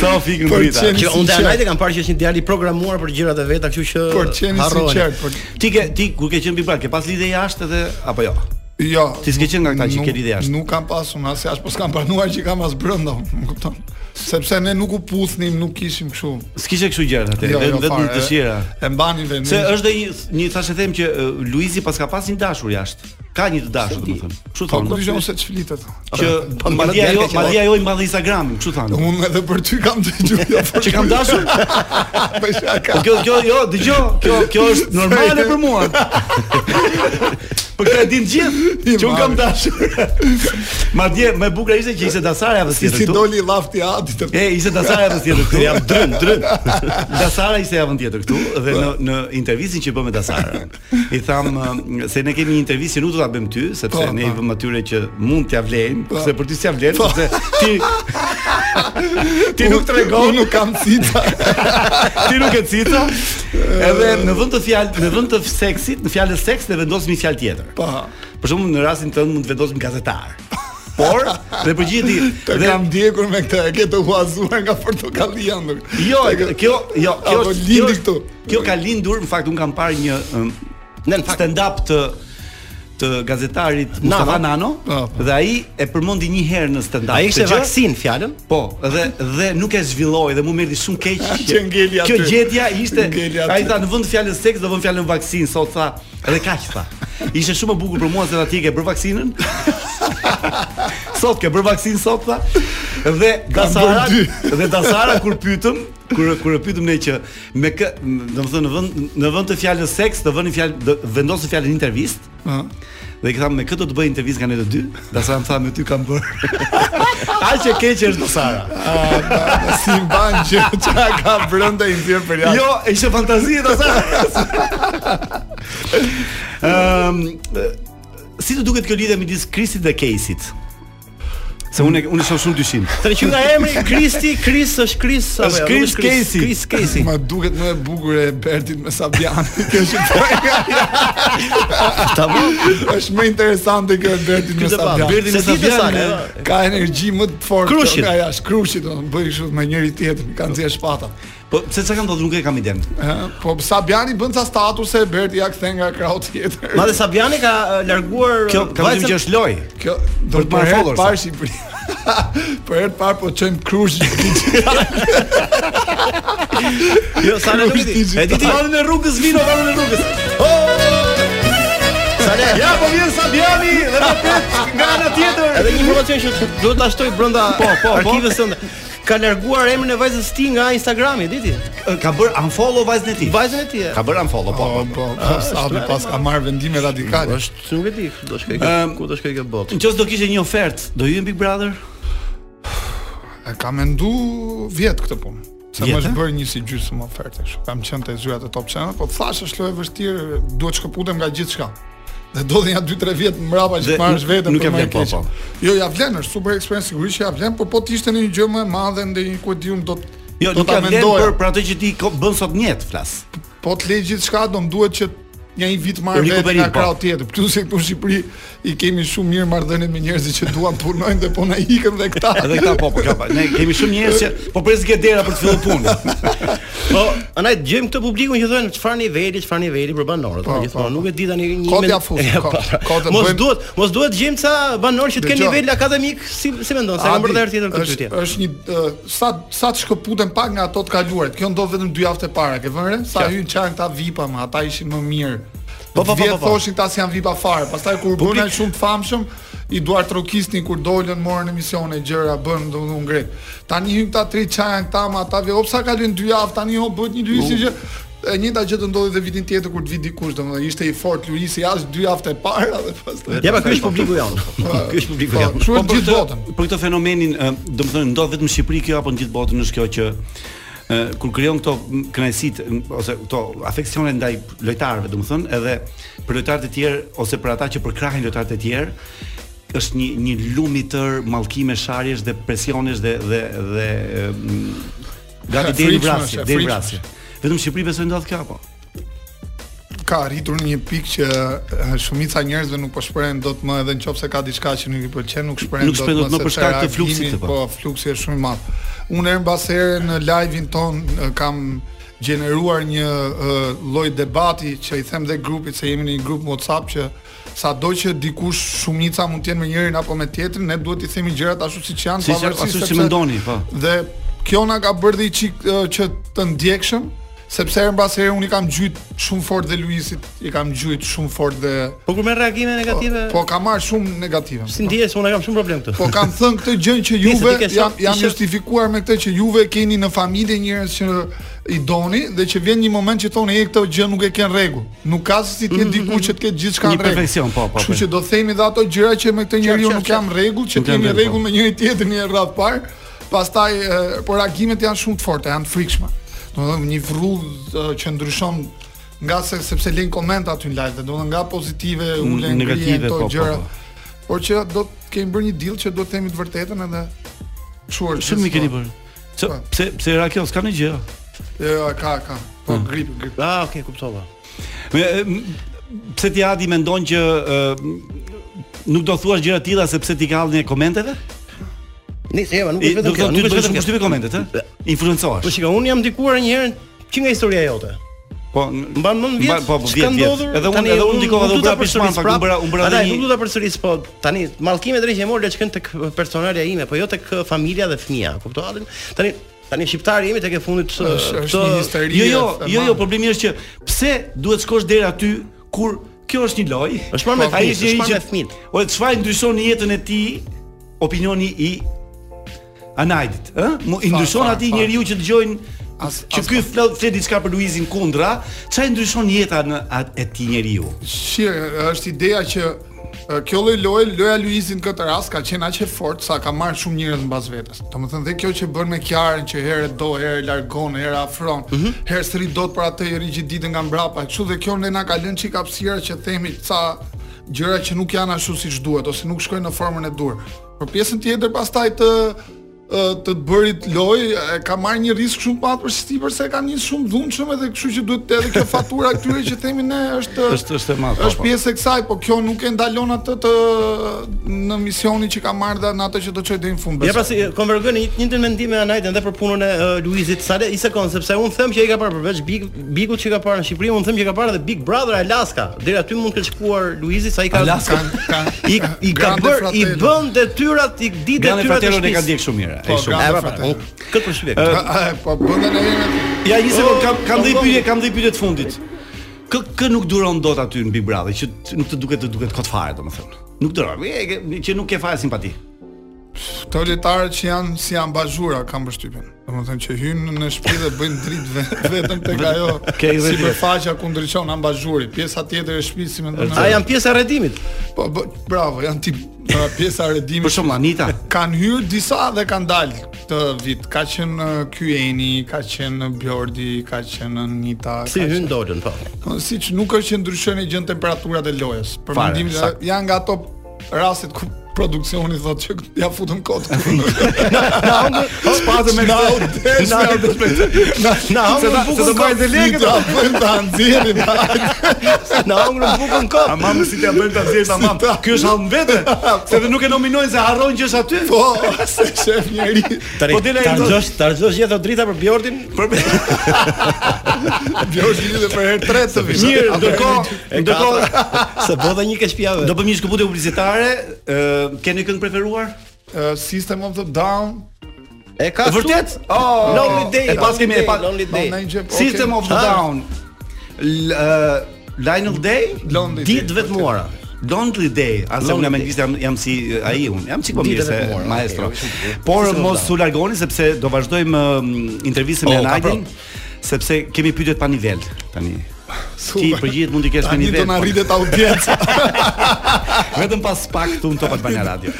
F: Sa u fikën
G: Për
F: drita?
G: qenë Që unë dhe Anajt e kam parë që është një djalë i programuar për gjërat e veta, kështu që
K: Për qenë
G: harrohen.
K: sinqert, po- për-
F: Ti ke ti kur ke qenë Big Brother, ke pas lidhje jashtë edhe apo jo?
K: Jo.
F: Ti s'ke qenë nga këta që
K: Nuk-
F: ke lidhje jashtë.
K: Nuk kam pasur as jashtë, po s'kam planuar që kam as brenda, më kupton? Sepse ne nuk u puthnim, nuk kishim kështu.
F: S'kishe kështu gjëra atë,
K: Jo, jo,
F: vetëm vetëm
K: fare, Mm.
F: dëshira.
K: E mbanin vendin.
F: Se është dhe një, një thashë them që uh, Luizi pas ka pas një dashur jashtë. Ka një të dashur domethënë. Kështu
K: Po kur dëgjoj
F: thonë.
K: se Po, çflitet.
F: Që jo- madje ajo, madje ajo i mbadh Instagramin, kështu thonë.
K: Unë edhe për ty kam dëgjuar. jo, për
F: Që kam
K: ty.
F: dashur?
K: Po shaka.
F: Po kjo kjo jo, dëgjoj, kjo kjo është normale për mua. Për këtë e din gjithë që un kam dashur. Madje më e bukur ishte që ishte dasara javës
K: Si
F: tjetër
K: si
F: këtu.
K: doli llafti atit.
F: E ishte dasara javës tjetër këtu. Jam drën, drën. Dasara ishte javën tjetër këtu dhe në në intervistën që bëm me Dasara. I tham ë, se ne kemi një intervistë që nuk do ta bëjmë ty sepse
K: Po,
F: ne i
K: po.
F: vëmë atyre që mund t'ja vlejmë,
K: Po.
F: se për ty s'ja vlen, sepse ti ti nuk
K: Unë-
F: tregon,
K: unë nuk kam cita.
F: ti nuk e cita. Edhe në vend të fjalë, në vend të seksit, në fjalën seks ne vendosim një fjalë tjetër.
K: Po.
F: Për shembull në rastin tënd mund të vendosim gazetar. Por dhe përgjithë
K: Të
F: dhe
K: kam djegur me këtë, e ke të huazuar nga portokallia ndër.
F: jo,
K: E ke-
F: kjo jo, kjo
K: Apo
F: është
K: po lindi
F: kjo është-
K: këtu.
F: Kjo ka lindur, në fakt un kam parë një um, stand up të të gazetarit Mustafa Nano
K: Po, po.
F: dhe ai e përmendi një herë në stand up.
G: Ai ishte vaksin fjalën?
F: Po, dhe dhe nuk e zhvilloi dhe mu merri shumë keq
K: Që ngeli aty.
F: Kjo gjetja ishte
K: Ngeli aty.
F: ai tha në vend të fjalës seks do vëm fjalën vaksin, sot tha, edhe kaq tha. Ishte shumë e bukur për mua se tha ti e ke bër vaksinën. sot ke bër vaksin sot tha. Dhe Dasara
K: bër
F: dhe Dasara kur pyetëm kur kur e pyetëm ne që me kë, domethënë në vend në vend të fjalës seks do vënë fjalë do vendosë fjalën intervistë
K: Ëh.
F: Dhe i tham me këtë do të bëj intervistë nga ne të dy, Dasara më tha me ty kam bër. Aq e keq është Dasara.
K: A, da- da, Si mban që çka ka brenda i vjen për jashtë.
F: Jo, ishte fantazi e Dasaras. Ëm si të duket Ehm, kjo lidhje midis Krisit dhe Keisit? Se unë unë shoh shumë dyshim.
G: Tani që nga emri Kristi, Kris është Kris apo
F: Është
G: jo?
F: Kris
G: Nuk
F: Casey.
G: Kris Casey.
K: Ma duket më e bukur e Bertit me Sabian. Kjo është po e ka. Është më interesante kjo e Bertit me
G: Kjo të pa,
K: Sabian.
G: Berti me
K: Se ditë
G: Sabian,
K: sa,
G: e-
K: ka energji më të fortë
G: Krushit.
K: nga jashtë. Krushit, do të bëj kështu me njëri tjetrin, kanë nxjerr shpata.
F: Po pse çka kam thotë nuk e kam iden.
K: Ëh, Po Sabiani bën ca statuse e Berti ja kthen nga krau tjetër.
G: Madje Sabiani ka e, larguar
F: Kjo kam thënë që është loj.
K: Kjo do
F: Për të
K: të
F: marrë
K: marrë
F: followers,
K: Për Shqipëri. Për herë të parë po çojmë Krush.
G: Jo, sa ne nuk e di.
K: Krushti
G: E di ti
F: Vanën e rrugës vino, vanën e rrugës.
G: sa ne.
F: Ja po vjen Sabiani dhe na pret nga ana tjetër.
G: Edhe një informacion që duhet ta shtoj brenda po, po, arkivës tënde. Ka larguar emrin e vajzës së tij nga Instagrami, e di ti?
F: Ka bër unfollow vajzën e tij.
G: Vajzën e tij. e.
F: Ka bër unfollow, po.
K: Po, po, po, Sabi pas ka marrë vendime radikale.
G: Është nuk e di ku do shkoj
F: Ëm,
G: kjo, ku do shkoj kjo botë.
F: Nëse do kishte një ofertë, do hyj në Big Brother?
K: E ka mendu vjet këtë punë. Se
F: Vjet,
K: më është
F: a?
K: bërë një si gjysmë oferte kështu. Kam qenë te zyrat e Top Channel, po thash është lojë e vështirë, duhet shkëputem nga gjithçka. Dhe dodhin ja 2-3 vjet mbrapa
F: Dhe
K: që marrësh
F: nuk-
K: veten
F: nuk e
K: për më
F: vlen, po,
K: keq.
F: po.
K: Jo, ja vlen, është super experience sigurisht që ja vlen, por po të ishte në një gjë më e madhe ndonjë ku e diun do të
F: Jo,
K: do
F: nuk
K: ta
F: ka vlen
K: mendoja.
F: për për atë që ti ko- bën sot njet flas.
K: Po të lej gjithçka do më duhet që një i vit marr vetë
F: Rikuperim,
K: nga
F: po.
K: krau tjetër. Plus se këtu në Shqipëri i kemi shumë mirë marrëdhëniet me njerëzit që duan punojnë dhe po na ikën dhe këta.
F: Edhe këta po, po, kjo po. Ne kemi shumë njerëz që po presin ke dera për të filluar punën.
G: Po, anaj gjejmë këtë publikun që thonë çfarë niveli, çfarë niveli për banorët.
K: Po,
G: Po, gjithmonë
K: po, po.
G: nuk e di tani një
K: Kot
G: men-
K: ja fus,
G: Ja,
K: kot.
G: po.
K: Kot e
G: Mos
K: bëjmë-
G: duhet, mos duhet gjejmë ca banorë që të kenë
K: Dëgjoj.
G: nivel akademik, si si mendon, sa kanë bërë herë tjetër këtë
K: është-
G: pyetje.
K: Është një ë, sa sa të shkëputen pak nga ato të kaluarat. Kjo ndodh vetëm dy javë e para, ke vënë re? Sa hyn çan këta VIP-a, më ata ishin më mirë.
G: Po, po, po,
K: Vjet
G: po, po.
K: thoshin këta si janë VIP-a fare. Pastaj kur bëna shumë të famshëm, i duar trokisnin kur dolën, morën emisione gjëra, bën domethënë grek. Tani hyn këta tri çan këta, më ata vi opsa kalojnë dy javë, tani ho bëhet një lysje që E njëjta gjë do ndodhi edhe vitin tjetër kur të vi dikush, domethënë ishte i fortë Luisi jashtë dy javë e para dhe pastaj.
F: Ja, pa, ky është publiku jon. Ky është publiku jon.
K: Kështu është
F: Po, për
K: gjithë
F: këtë-
K: botën.
F: Për këtë fenomenin, ë, do të thonë ndodh vetëm në Shqipëri kjo apo në gjithë botën është kjo që ë, kur krijon këto kënaqësitë m, ose këto afeksione ndaj lojtarëve, do të thonë, edhe për lojtarët e tjerë ose për ata që përkrahin lojtarët e tjerë, është një një lum i tër mallkime sharjesh dhe presionesh dhe dhe dhe ë, m, gati deri në
K: Frikshme
F: vrasje,
K: është,
F: deri në
K: frikshme
F: vrasje. Vetëm në Shqipëri besoj ndodh kjo apo?
K: Ka arritur në një pikë që e, shumica e njerëzve nuk po shprehen dot më edhe nëse ka diçka që nuk i pëlqen, nuk shprehen
F: Nuk shprehen dot më për
K: sepse
F: shkak të fluksit
K: reagimi,
F: të po.
K: Po, fluksi është shumë i madh. Unë herën pas here në live-in ton e, kam gjeneruar një e, lloj debati që i them dhe grupit se jemi në një grup WhatsApp që sado që dikush shumica mund të jenë me njërin apo me tjetrin, ne duhet i themi gjërat ashtu siç janë,
F: Siç
K: pavarësisht
F: ashtu si
K: sepse-
F: mendoni, po.
K: Dhe kjo na ka bërë dhe i çik ë, që të ndjekshëm, sepse herë mbas here unë i kam gjyt shumë fort dhe Luisit, i kam gjyt shumë fort dhe
G: Po kur merr reagime negative?
K: Po, po ka marr shumë negative.
F: po.
G: Si ndjes, unë kam shumë problem këtu.
K: Po kam thënë këtë gjë që
G: Nisë,
K: juve
G: ti ke
K: jam
G: shof-
K: jam
G: ishe-
K: justifikuar me këtë që juve keni në familje njerëz që i doni dhe që vjen një moment që thonë e këtë gjë nuk e kanë rregull. Nuk ka se si të jetë diku që të ketë gjithçka
F: Mhm, Një
K: në rregull.
F: perfeksion, po, po,
K: Kështu
F: po.
K: që do themi dhe ato gjëra që me këtë njeriu
F: qaf,
K: nuk jam rregull, që
F: Nuk jam
K: kemi
F: rregull, po.
K: rregull me njëri tjetrin një radh parë, pastaj e, po reagimet janë shumë të forta, janë të frikshme. Domethënë një vrull e, që ndryshon nga se sepse lën koment aty në live, domethënë nga pozitive u lën
F: Negative,
K: negative
F: po,
K: ato
F: po,
K: gjëra.
F: po.
K: Por që do të kemi bërë një deal që do të themi të vërtetën edhe çuar.
F: Shumë i keni bërë. Ço- Pse pse era kjo, s'ka ndonjë gjë.
K: Jo, ka, ka. Po
F: Mm.
K: grip, grip.
G: Ah, okay, kuptova.
F: Me, m- pse ti Adi mendon që ë, nuk do thuash gjëra të tilla sepse ti ke hallin e komenteve?
G: Nice, jema, nuk
F: I-
G: është
F: do
G: vetëm
F: të
G: kjo,
F: thotë,
G: nuk është
F: ty vetëm
G: vetëm
F: kushtive komentet, ë? Influencohesh.
G: Po shikoj, unë jam ndikuar një herë që nga historia jote.
F: Po,
G: mban mend vjet.
F: mban- po, po,
G: s'ka
F: vjet, vjet.
G: ndodhur,
F: Edhe unë-
G: tani,
F: edhe unë ndikova, edhe
G: nuk do
F: unë
G: ta
F: bëra pishman,
G: përsëris
F: pak, unë bëra- unë bëra
G: Ataj,
F: edhe një-
G: nuk do ta përsëris, po tani mallkimet drejtë që e mor le të shkën tek personalja ime, po jo tek uh, familja dhe fëmia, kuptova? Atë- Tani tani shqiptari jemi tek e fundit uh,
K: Është- është
G: këtë-
K: një histeri
F: Jo, jo,
K: e
F: jo, jo,
K: madhe.
F: problemi është që pse duhet shkosh deri aty kur kjo është një lojë?
G: Është marrë me
F: Ai
G: fëmijë,
F: është njëri
G: është marrë
F: që
G: me fëmijë.
F: O çfarë ndryshon në jetën e tij opinioni i Anajdit, ë? Mu i
K: Fal,
F: ndryshon
K: fal,
F: atij
K: fal.
F: njeriu që dëgjojnë
K: As-
F: që
K: as-
F: ky flet flet diçka për Luizin kundra, çfarë ndryshon jeta në atë e ti njeriu?
K: Shire, është ideja që e, kjo lloj loje, loja Luizin në këtë rast ka qenë aq e fortë sa ka marrë shumë njerëz mbas vetes. Domethënë dhe kjo që bën me Kiarën që herë do, herë largon, herë afron,
F: Mhm.
K: herë sri dot për atë i rigjiditën nga mbrapa. Kështu dhe kjo ne na ka lënë çik hapësira që themi ca gjëra që nuk janë ashtu siç duhet ose nuk shkojnë në formën e dur. Por pjesën tjetër pastaj të e, të të bërit loj, e, ka marrë një risk shumë të madh për City përse ka një shumë dhunshëm edhe kështu që duhet edhe kjo fatura këtyre që themi ne është
F: Është është e madhe. po,
K: është
F: po.
K: pjesë e kësaj, po kjo nuk e ndalon atë të në misionin që ka marrë dhe në atë që do çojë deri në fund.
G: Ja
K: besoj.
G: pra si konvergojnë një të njëjtin mendim me Anajden dhe për punën e uh, Luizit Sale i sekond sepse unë them që ai ka parë përveç Big Bigut që ka parë në Shqipëri, unë them që ka parë edhe Big Brother Alaska. Deri aty mund të ketë shkuar Luizi sa i ka
F: Alaska.
K: Ka-
G: i i ka
K: Grande
G: bër i
K: Fratello.
G: bën detyrat i ditë
F: Grande
G: detyrat e
F: Fratero ne ka
G: shtëpisë.
F: ndjek shumë mirë.
K: Po,
F: ai shumë.
K: Grande
G: E, pra, pra,
K: Fratello.
G: unë Këtë përshtypje.
F: Ë,
K: A, e, Po bënda në herë.
F: Ja, një sekond, kam kam dhe i
G: Oh,
F: pyetje, kam dhe i pyetje të fundit. Kë kë nuk duron dot aty në Big Brother, që t- nuk të duket të duket kot fare, domethënë. Nuk duron, e, ke- që nuk ke fare simpati.
K: Këto lojtarët që janë si ambazhura kanë përshtypjen. Domethënë që hynë në shtëpi dhe bëjnë dritë ve- vetëm tek ajo
F: Ke i vetë.
K: sipërfaqja ku ndriçon ambazhuri. Pjesa tjetër e shtëpisë si mendon.
G: A janë pjesë e rredimit?
K: Po bë- bravo, janë tip pra, pjesa e redimit.
F: Për shembull Anita,
K: kanë hyrë disa dhe kanë dalë këtë vit. Ka qenë uh, Kyeni, ka qenë Bjordi, ka qenë Nita.
G: Si
K: ka
G: hyn dolën po.
K: qenë- Siç nuk është që ndryshojnë gjën temperaturat e lojës. Për
F: Fare,
K: mendimin
F: sakt.
K: janë nga ato rastet ku produksioni thotë që ja futëm kot. Spatë me këtë. Na u desh me këtë.
G: Na
K: Se
G: hongër
K: ta- se
G: bukën
K: do bëjnë të lekë ta bëjmë ta nxjerrim.
G: kokë, na hongër bukën kokë.
F: tamam si t'ia bën ta zgjesh tamam. Ky është hall në vete, se dhe nuk e nominojnë se harron që është aty.
K: Po, se shef njëri.
G: Tani,
F: Po dela e ndodh.
G: tarzosh, tarzosh gjithë drita për Bjordin.
K: Bjordi dhe për herë tretë të vit.
F: Mirë, ndërkohë,
G: E
F: ndërkohë
G: katërt, se bodha një keqpjavë.
F: do bëjmë një shkëputje publicitare. Ë, keni këngë preferuar?
K: Uh, System of the Down,
G: E ka ashtu?
F: Vërtet? Oh,
G: Lonely Day.
F: E pas kemi e pas
G: Lonely Day.
K: Lonely Day.
F: System
K: Okay.
F: of the
G: Ah.
F: Down. L- ë, Lionel Day,
K: Lonely Day.
G: Ditë vetmuara.
F: Lonely Day, as unë
G: Lonely
F: jam
G: Day.
F: anglisht jam jam si eh, ai un. Jam si mirë
G: Ditët e
F: se
G: të mora,
F: maestro.
G: okay, okay, shumë mirë.
F: Por
G: Sistem of
F: mos
G: Down.
F: u largoni sepse do vazhdojmë mm, intervistën me
G: Oh, ka
F: Anajdin.
G: prop.
F: sepse kemi pyetjet pa nivel tani. Ti përgjigjet mund të kesh me
K: Tani
F: nivel. po
K: do na rritet audienca.
F: Vetëm pas pak këtu në Top Albania Radio.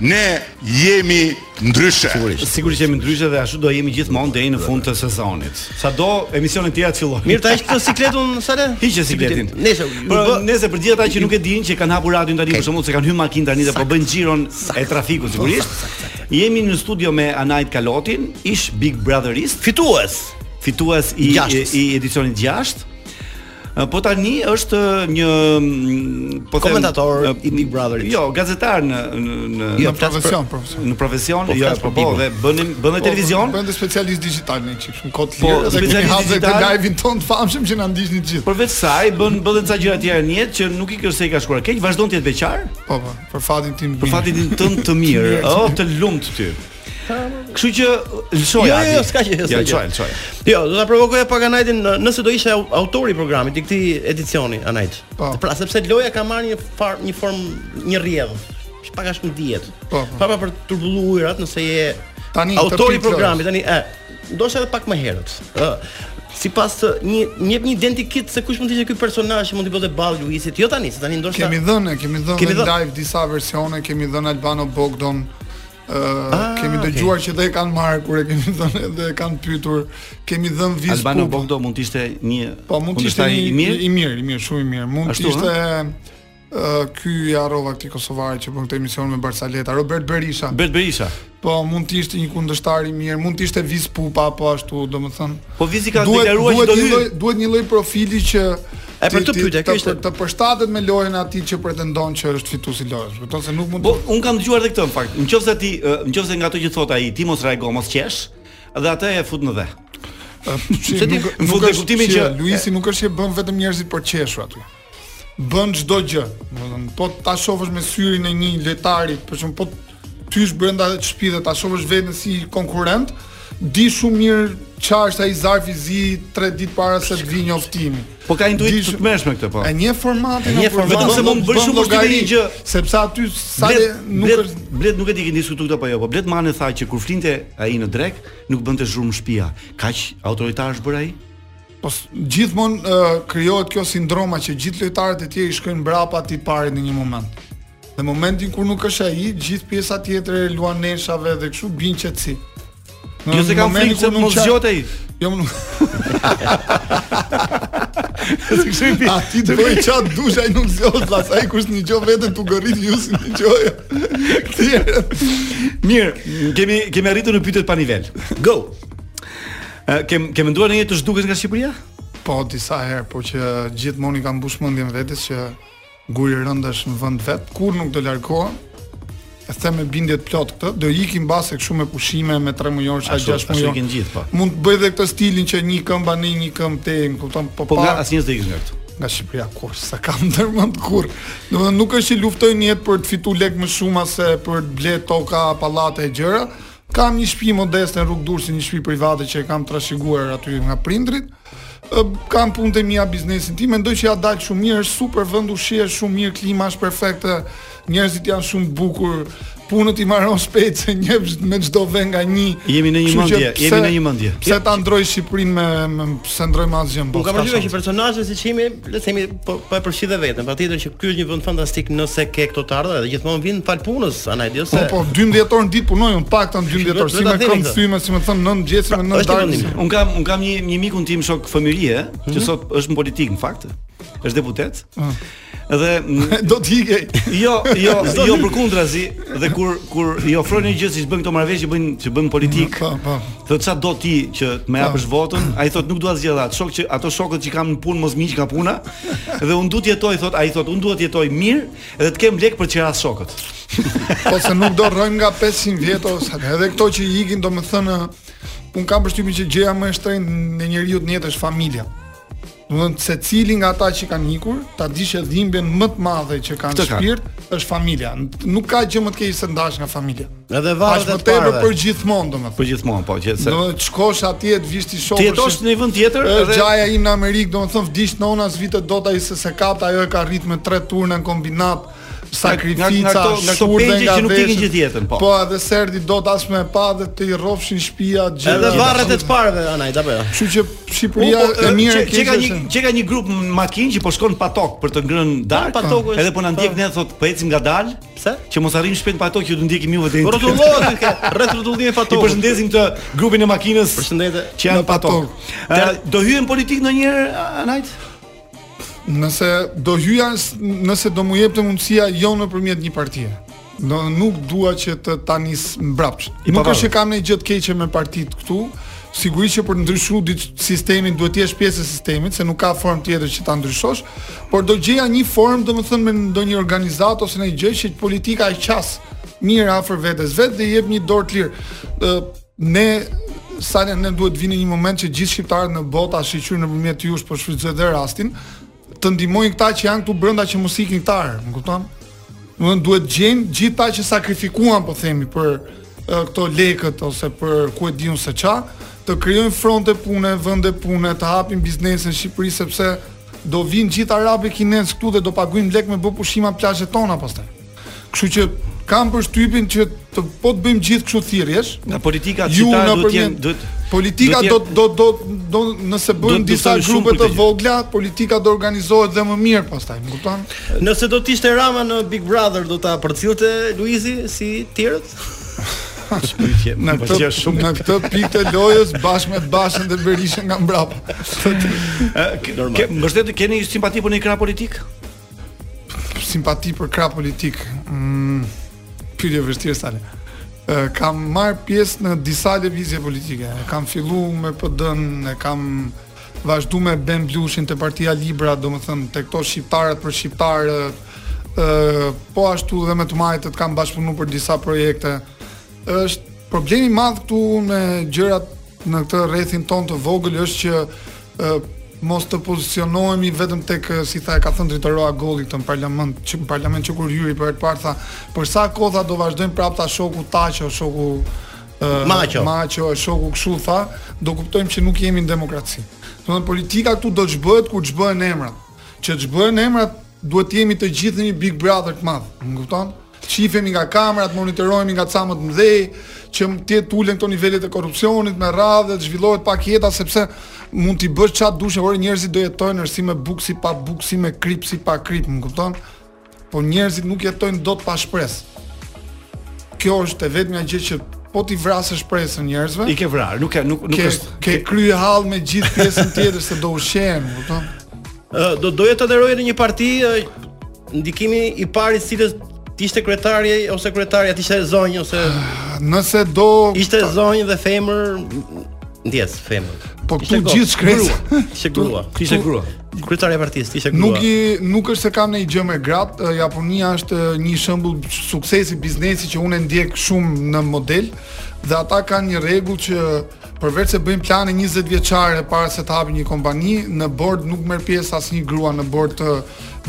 H: Ne jemi ndryshe.
F: Sigurisht. Sigurisht jemi ndryshe dhe ashtu do jemi gjithmonë deri në fund të sezonit. Sado emisionet tjera të fillojnë.
G: Mirë, ta hiq këtë sikletun sale?
F: Hiqë sikletin.
G: Nëse
F: Po nëse për gjithë ata që nuk e dinë që kanë hapur radion tani për shembull se kanë hyrë makinë tani dhe po bëjnë xhiron e trafikut sigurisht. Jemi në studio me Anait Kalotin, ish Big Brotherist,
G: fitues,
F: fitues i i,
G: Gjashtës.
F: i edicionit 6. Po tani është një mm, po them-
G: Komentator
F: eh,
G: i Big Brotherit.
F: Jo, gazetar në në në,
K: Jo, Në flas për- profesion, profesion.
F: Në profesion,
K: Po,
F: jo,
K: flas për
F: po po
K: Bigun.
F: dhe bën bën dhe televizion.
K: Bënte specialist digjital ne kështu, shumë kot
F: Po,
K: lirë. dhe kemi
F: specialist
K: hapë këtë
F: digjital.
K: live-in ton të famshëm që na ndiqni të gjithë.
F: Përveç saj bën bën edhe ca gjëra të tjera në jetë që nuk i kjo se i ka shkuar keq, vazhdon të jetë beqar.
K: Po po, për fatin tim.
F: Për fatin tim tënd të mirë, oh, të lumt ty. Kështu që lëshoj
G: Jo, jo,
F: Adi.
G: jo, s'ka gjë, s'ka
F: Ja,
G: gjë.
F: lëshoj, lëshoj.
G: Jo, do ta provokoja pak Anajtin në- nëse do ishe au- autori i programit i këtij edicioni Anajt.
K: Po.
G: Pra sepse loja ka marrë një far, një formë një rrjedh, që pak është një dietë.
K: Po,
G: Pa pa për të turbulluar ujërat nëse je
K: Tani,
G: autori i
K: tërpik
G: programit, tani e ndoshta edhe pak më herët. ë sipas të një një jep një identikit se kush mund të ishte ky personazh që mund t'i bëte ballë Luisit. Jo tani, se tani ndoshta
K: Kemi dhënë, kemi dhënë
G: Kemi
K: dhe
G: dhënë.
K: live disa versione, kemi dhënë Albano Bogdan. ë
F: Ah,
K: kemi dëgjuar që dhe e kanë marrë kur e kemi dhënë dhe e kanë pyetur. Kemi dhënë viz
F: Albano
K: pub.
F: Bogdo mund të ishte një
K: Po mund të ishte
F: kundërshtar
K: një,
F: i mirë.
K: i mirë, i mirë, shumë i mirë. Mund
F: Ashtu,
K: të ishte ë ky i harrova këtij kosovari që bën këtë emision me Barsaleta, Robert Berisha.
F: Bert Berisha.
K: Po mund të ishte një kundërshtar i mirë, mund të ishte Viz Pupa apo ashtu, domethënë.
F: Po Vizi ka deklaruar që
K: duhet
F: do
K: një
F: hyj.
K: lloj- duhet një lloj profili që
G: E, për
K: ti-
G: të
K: ti-
G: pyetja, kjo
K: të-
G: ishte-
K: të përshtatet me lojën e atij që pretendon që është fituesi i lojës. Kupton se nuk mund
F: Po un kam dëgjuar edhe këtë në fakt. Nëse ti, ë, nëse nga ato që thot ai, ti mos reago, mos qesh, dhe atë e fut në dhe.
K: Shi,
F: Se ti-
K: nuk,
F: në
K: nuk
F: fund e
K: është
F: kuptimin
K: që
F: që-
K: Luisi nuk është që bën vetëm njerëzit për qeshur aty. Bën çdo gjë. Domethënë, po ta shohësh me syrin e një lojtari, për shembull, po ty është brenda shtëpi dhe ta shohësh veten si konkurrent, di shumë mirë çfarë është ai zarfi i zi 3 ditë para se të vi njoftimi.
F: Po ka intuit
K: Dish-
F: të mërshme këtë po.
K: E një formatin
F: E njeh
K: apo
F: formatin. Vetëm se mund të bësh
K: bën
F: shumë vështirë
K: llogari,
F: një gjë.
K: sepse aty sa le
F: Bled,
K: nuk
F: Bled,
K: është
F: Bled nuk e di keni diskutuar këtë apo jo, po Bled Mane tha që kur flinte ai në drek, nuk bënte zhurmë shtëpia. Kaq autoritar është bërë ai?
K: Po s- gjithmonë uh, krijohet kjo sindroma që gjithë lojtarët e tjerë i shkojnë mbrapa atit parit në një moment. Në momentin kur nuk është ai, gjithë pjesa tjetër e luan neshave dhe kështu bin qetësi. Në
F: Jo se kam
K: momentin
F: frikë se
K: kur nuk
F: mos
K: qa-
F: zgjot ai.
K: Jo më nuk. A ti të bëj qatë dush, ai nuk zjot, las, ai kush një gjo vetën të gërrit, ju si një gjo, Tjerë.
F: Mirë, kemi kemi arritur në pyetjet pa nivel. Go. Ë, Kem ke menduar ndonjë të zhdukesh nga Shqipëria?
K: Po disa herë, po që gjithmonë i kam mbush mendjen vetes që guri rëndesh në vend vet, kur nuk do largohem. E them me bindje të plot këtë, do ikim mbase kështu me pushime me 3 mujor, çaj
F: Ashtu-
K: 6
F: ashtu
K: mujor.
F: i kanë gjithë, po.
K: Mund të bëj edhe këtë stilin që një këmbë bani, një këmbë te, më kupton, po,
F: Po nga
K: pa
F: asnjë s'do ikish nga këtu.
K: nga Shqipëria kur sa kam ndërmend kur. Domethënë nuk është që luftoj në jetë për të fituar lek më shumë se për të bler toka, pallate e gjëra. Kam një shtëpi modeste në rrugë Durrësi, një shtëpi private që e kam trashëguar aty nga prindrit. Ë, Kam punët e mia, biznesin tim, mendoj që ja dal shumë mirë, është super vend ushqie, është shumë mirë, klima është perfekte, njerëzit janë shumë të bukur, punët i marron shpejt se njeh me çdo vend nga një.
F: Jemi në një
K: Kështu që
F: mendje, jemi
K: pse-
F: në një mendje.
K: Pse ta ndroj Shqipërinë me, me pse ndroj me asgjë më
G: Unë kam
K: pas,
G: përshtypjen që
K: s'ka
G: personazhi siç jemi, le të themi, po po e përfshi dhe veten. Patjetër që ky është një vend fantastik nëse ke këto të ardha dhe gjithmonë vin fal punës, jo anaj di ose.
K: Po po 12 orë në ditë punoj un paktën 12 orë si
G: Vetë
K: me
G: ta themi
K: këmbë
G: këtë.
K: thyme, si më thon 9
F: Pra,
K: gjesi me 9
G: është i
K: darkë.
G: vendimi.
F: Un kam un kam një një mikun tim shok fëmijërie, që sot është në politikë në fakt. Është deputet. Dhe m-
K: Do të ikej.
F: jo, jo, jo përkundrazi dhe kur kur i ofrojnë një gjë siç bën këto marrëveshje që bëjnë që bën politik.
K: Po po.
F: Thotë çfarë do ti që të më japësh votën? Ai thotë nuk dua asgjë dha. Shok që ato shokët që kam në punë mos miq nga puna. Dhe unë duhet jetoj, thotë ai thotë, unë duhet jetoj mirë dhe të kem lek për çeras shokët.
K: Po se nuk do rrojmë nga 500 vjet ose edhe këto që i ikin domethënë un kam përshtypjen që gjëja më e shtrenjtë në njeriu të jetë është familja. Domethënë secili nga ata që kanë ikur, ta di që dhimbjen më të madhe që kanë
F: Këtë kanë.
K: shpirt është familja. Nuk ka gjë më të keqe se ndash nga familja.
G: Edhe
K: Aq
G: varet
K: më
G: edhe të
K: tepër
G: parëve.
K: për gjithmonë domethënë.
F: Për gjithmonë po, që se
K: Do të shkosh atje të vish ti shohësh.
F: ti jetosh në një vend tjetër
K: Është
F: dhe
K: gjaja im në Amerikë, domethënë vdiq nona s'vitet dot ai se se kapta, ajo e ka rrit me tre turna në kombinat. sakrifica,
F: nga ato- nga ato
K: shurde
F: pengje
K: nga
F: që nuk
K: veshët.
F: ikin gjithë jetën, po.
K: Po, edhe serdi dot as me pa dhe të i rrofshin shtëpia gjë.
F: Edhe varret e të
G: parëve anaj, apo jo.
K: Kështu që Shqipëria e mirë e
F: Po, që ka
K: keqe.
F: një
K: është-
F: që ka një grup në makinë që po shkon pa tokë për të ngrënë darkë.
G: Pa tokë është-
F: Edhe po na ndjek ne thotë po ecim ngadalë.
G: Pse?
F: Që mos arrim shpejt pa tokë që do ndjekim juve deri.
G: Rrotullohet kë, rreth rrotullimit pa tokë.
F: I përshëndesim këtë grupin e makinës. Përshëndetje. Që janë pa tokë. Ë, Do hyjmë politik ndonjëherë anajt?
K: Nëse do hyja, s- nëse do mu jepte mundësia jo nëpërmjet një partie. Do nuk dua që të tani mbrapsht.
F: I
K: Nuk
F: pavarur.
K: është që kam një gjë të keqe me partitë këtu. Sigurisht që për të ndryshuar diç- sistemin duhet të jesh pjesë e sistemit, se nuk ka formë tjetër që ta ndryshosh, por do gjeja një formë, domethënë me ndonjë organizatë ose një gjë që politika e qas mirë afër vetes vet dhe i jep një dorë të lirë. Ë, ne sa ne, ne duhet vinë një moment që gjithë shqiptarët në botë a shqyqyr nëpërmjet jush po shfrytëzoj dhe rastin, të ndihmojnë këta që janë këtu brenda që mos ikin këta, herë, më kupton? Do të thonë, duhet gjejnë gjithë ta që sakrifikuan po themi për e, këto lekët ose për ku e diun se ça, të krijojnë fronte pune, vende pune, të hapin biznese në Shqipëri sepse do vinë gjithë arabë kinezë këtu dhe do paguajnë lek me bë pushima plazhet tona pastaj. Kështu që kam përshtypin që të po të bëjmë gjithë kështu thirrjesh,
F: Nga politika
K: Ju
F: qytetarë duhet të
K: nëpërmjet-
F: jenë duhet
K: Politika do
F: duhet jetë-
K: do do do nëse
F: Duhet-
K: bëhen
F: duhet
K: disa
F: të jenë shumë
K: grupe të
F: politika.
K: vogla, politika do organizohet dhe më mirë pastaj, më kupton?
G: Nëse do të ishte Rama në Big Brother do ta përcjellte Luizi si tjerët? Shpytje.
K: Në
G: po
K: këtë
G: që është shumë-
K: në këtë pikë të lojës bashkë me Bashën dhe Berishën nga mbrapa.
F: Ke mbështet keni simpati për një krah politik?
K: Simpati për krah politik. Mm, Pyetje vështirë sale. Ë, Kam marr pjesë në disa lëvizje politike. E Kam fillu me PD-n, e kam vazhdu me Ben Blushin te Partia Libra, domethënë te këto shqiptarët për shqiptarët. Ë, po ashtu dhe me të majtët kam bashkëpunu për disa projekte. Është problemi i madh këtu me gjërat në këtë rrethin ton të vogël është që ë, mos të pozicionohemi vetëm tek ë, si tha e ka thënë drejtoroa Golli këtë në parlament, që në parlament që kur hyri për herë të parë tha, për sa kohë tha do vazhdojmë prapë ta shoku Taqo, shoku ë,
G: Maqo.
K: Maqo, e shoku kështu tha, do kuptojmë që nuk jemi në demokraci. Domethënë politika këtu do ç'bëhet kur ç'bëhen emrat. Që ç'bëhen emrat duhet të jemi të gjithë në një Big Brother të madh, më kupton? Shifemi nga kamerat, monitorohemi nga ca më të mëdhej, që m- të jetë ulen këto nivelet e korrupsionit me radhë, të zhvillohet pak jeta sepse mund t'i bësh çat dushë, orë njerëzit do jetojnë si me buk si pa buk, si me krip si pa krip, më kupton? Po njerëzit nuk jetojnë dot pa shpresë kjo është e vetmja gjë që po ti vrasësh shpresën njerëzve.
F: I ke vrarë, nuk e nuk nuk
K: Ke,
F: është.
K: ke krye hall me gjithë pjesën tjetër se do ushqen, kupton?
G: Ë, do doja të adheroj në një parti ë, ndikimi i parë i cilës ti ishte kryetari ose kryetaria ti ishte zonjë ose
K: Nëse do
G: ishte zonjë dhe femër ndjes femër.
K: Po
G: Ishte
K: këtu
G: go-
K: gjithë shkres.
G: grua, Ishte grua.
K: Këtu- Ishte grua.
G: Kryetari e partisë ishte grua.
K: Nuk i nuk është se kam ndonjë gjë me gratë, eh, Japonia është eh, një shembull suksesi biznesi që unë e ndjek shumë në model dhe ata kanë një rregull që përveç se bëjnë plane 20 vjeçare para se të hapin një kompani, në board nuk merr pjesë asnjë grua në board të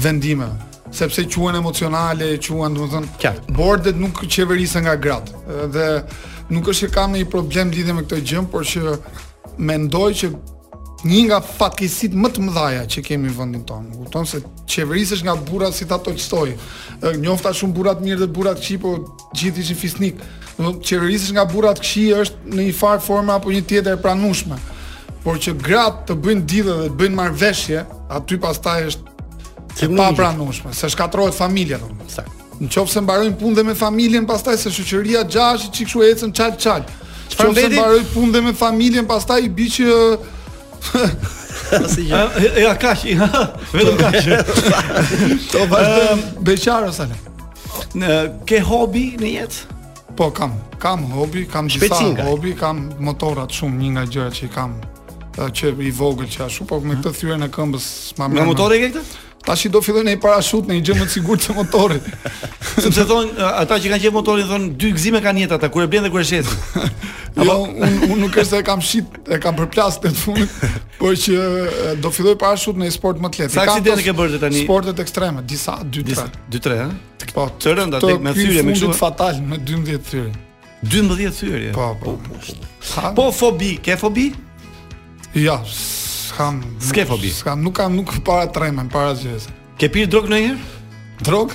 K: vendimeve sepse quhen emocionale, quhen domethënë bordet nuk qeverisen nga gratë. Eh, Dhe nuk është që kam një problem lidhje me këtë gjë, por që mendoj që një nga fatkeqësitë më të mëdha që kemi në vendin tonë. Kupton se qeverisesh nga burra si ta Tolstoi. Ë, Njofta shumë burra të mirë dhe burra të këqij, po gjithë ishin fisnik. Do të thotë, qeverisesh nga burra të këqij është në një farë forme apo një tjetër e pranueshme. Por që gratë të bëjnë didhe dhe të bëjnë marrëveshje, aty pastaj është e pa pranueshme, se shkatrohet familja domethënë. Në qoftë se mbarojnë punë dhe me familjen, pastaj se shoqëria gjashi çik kështu ecën çal çal.
G: Çfarë
K: Qoftë se
G: mbeti?
K: mbaroj punë dhe me familjen, pastaj i bi që
F: Ë, Ja kaq, ja, vetëm kaq.
K: To
G: Ehm,
K: vazhdojmë beqarës ale.
F: Në ke hobi në jetë?
K: Po kam, kam hobi, kam disa
F: Shpejtësinga.
K: hobi, kam motorat shumë, një nga gjërat që i kam e, që i vogël që ashtu, po me këtë thyrën e këmbës ma
F: Me motor e ke këtë?
K: Tashi do filloj në një parashut në një gjë më të sigurt se motorit.
F: Sepse thonë ë, ata që kanë qenë motorin thonë dy gëzime kanë jeta ata kur e blen dhe kur e shesin.
K: jo, unë un nuk është se e kam shit, e kam përplas të fundit, por që e, do filloj parashut në një sport më të
F: Sa
K: lehtë. I kam
F: aksidente
K: këto
F: ke bërë ti tani?
K: Sportet ekstreme, disa, dy,
F: Disa 2-3,
K: tre.
F: ha?
K: Po,
F: të rënda
K: Të
F: tek me
K: ky
F: thyrje me
K: fundit
F: kështu.
K: fatal me 12 thyrje.
F: 12 thyrje.
K: Po, po. Ha?
F: Po fobi, ke fobi?
K: Ja, s'kam.
F: S'ke
K: nuk-
F: fobi?
K: S'kam, nuk kam nuk para tremen, para gjëse.
F: Ke pirë drog ndonjëherë?
K: Drog?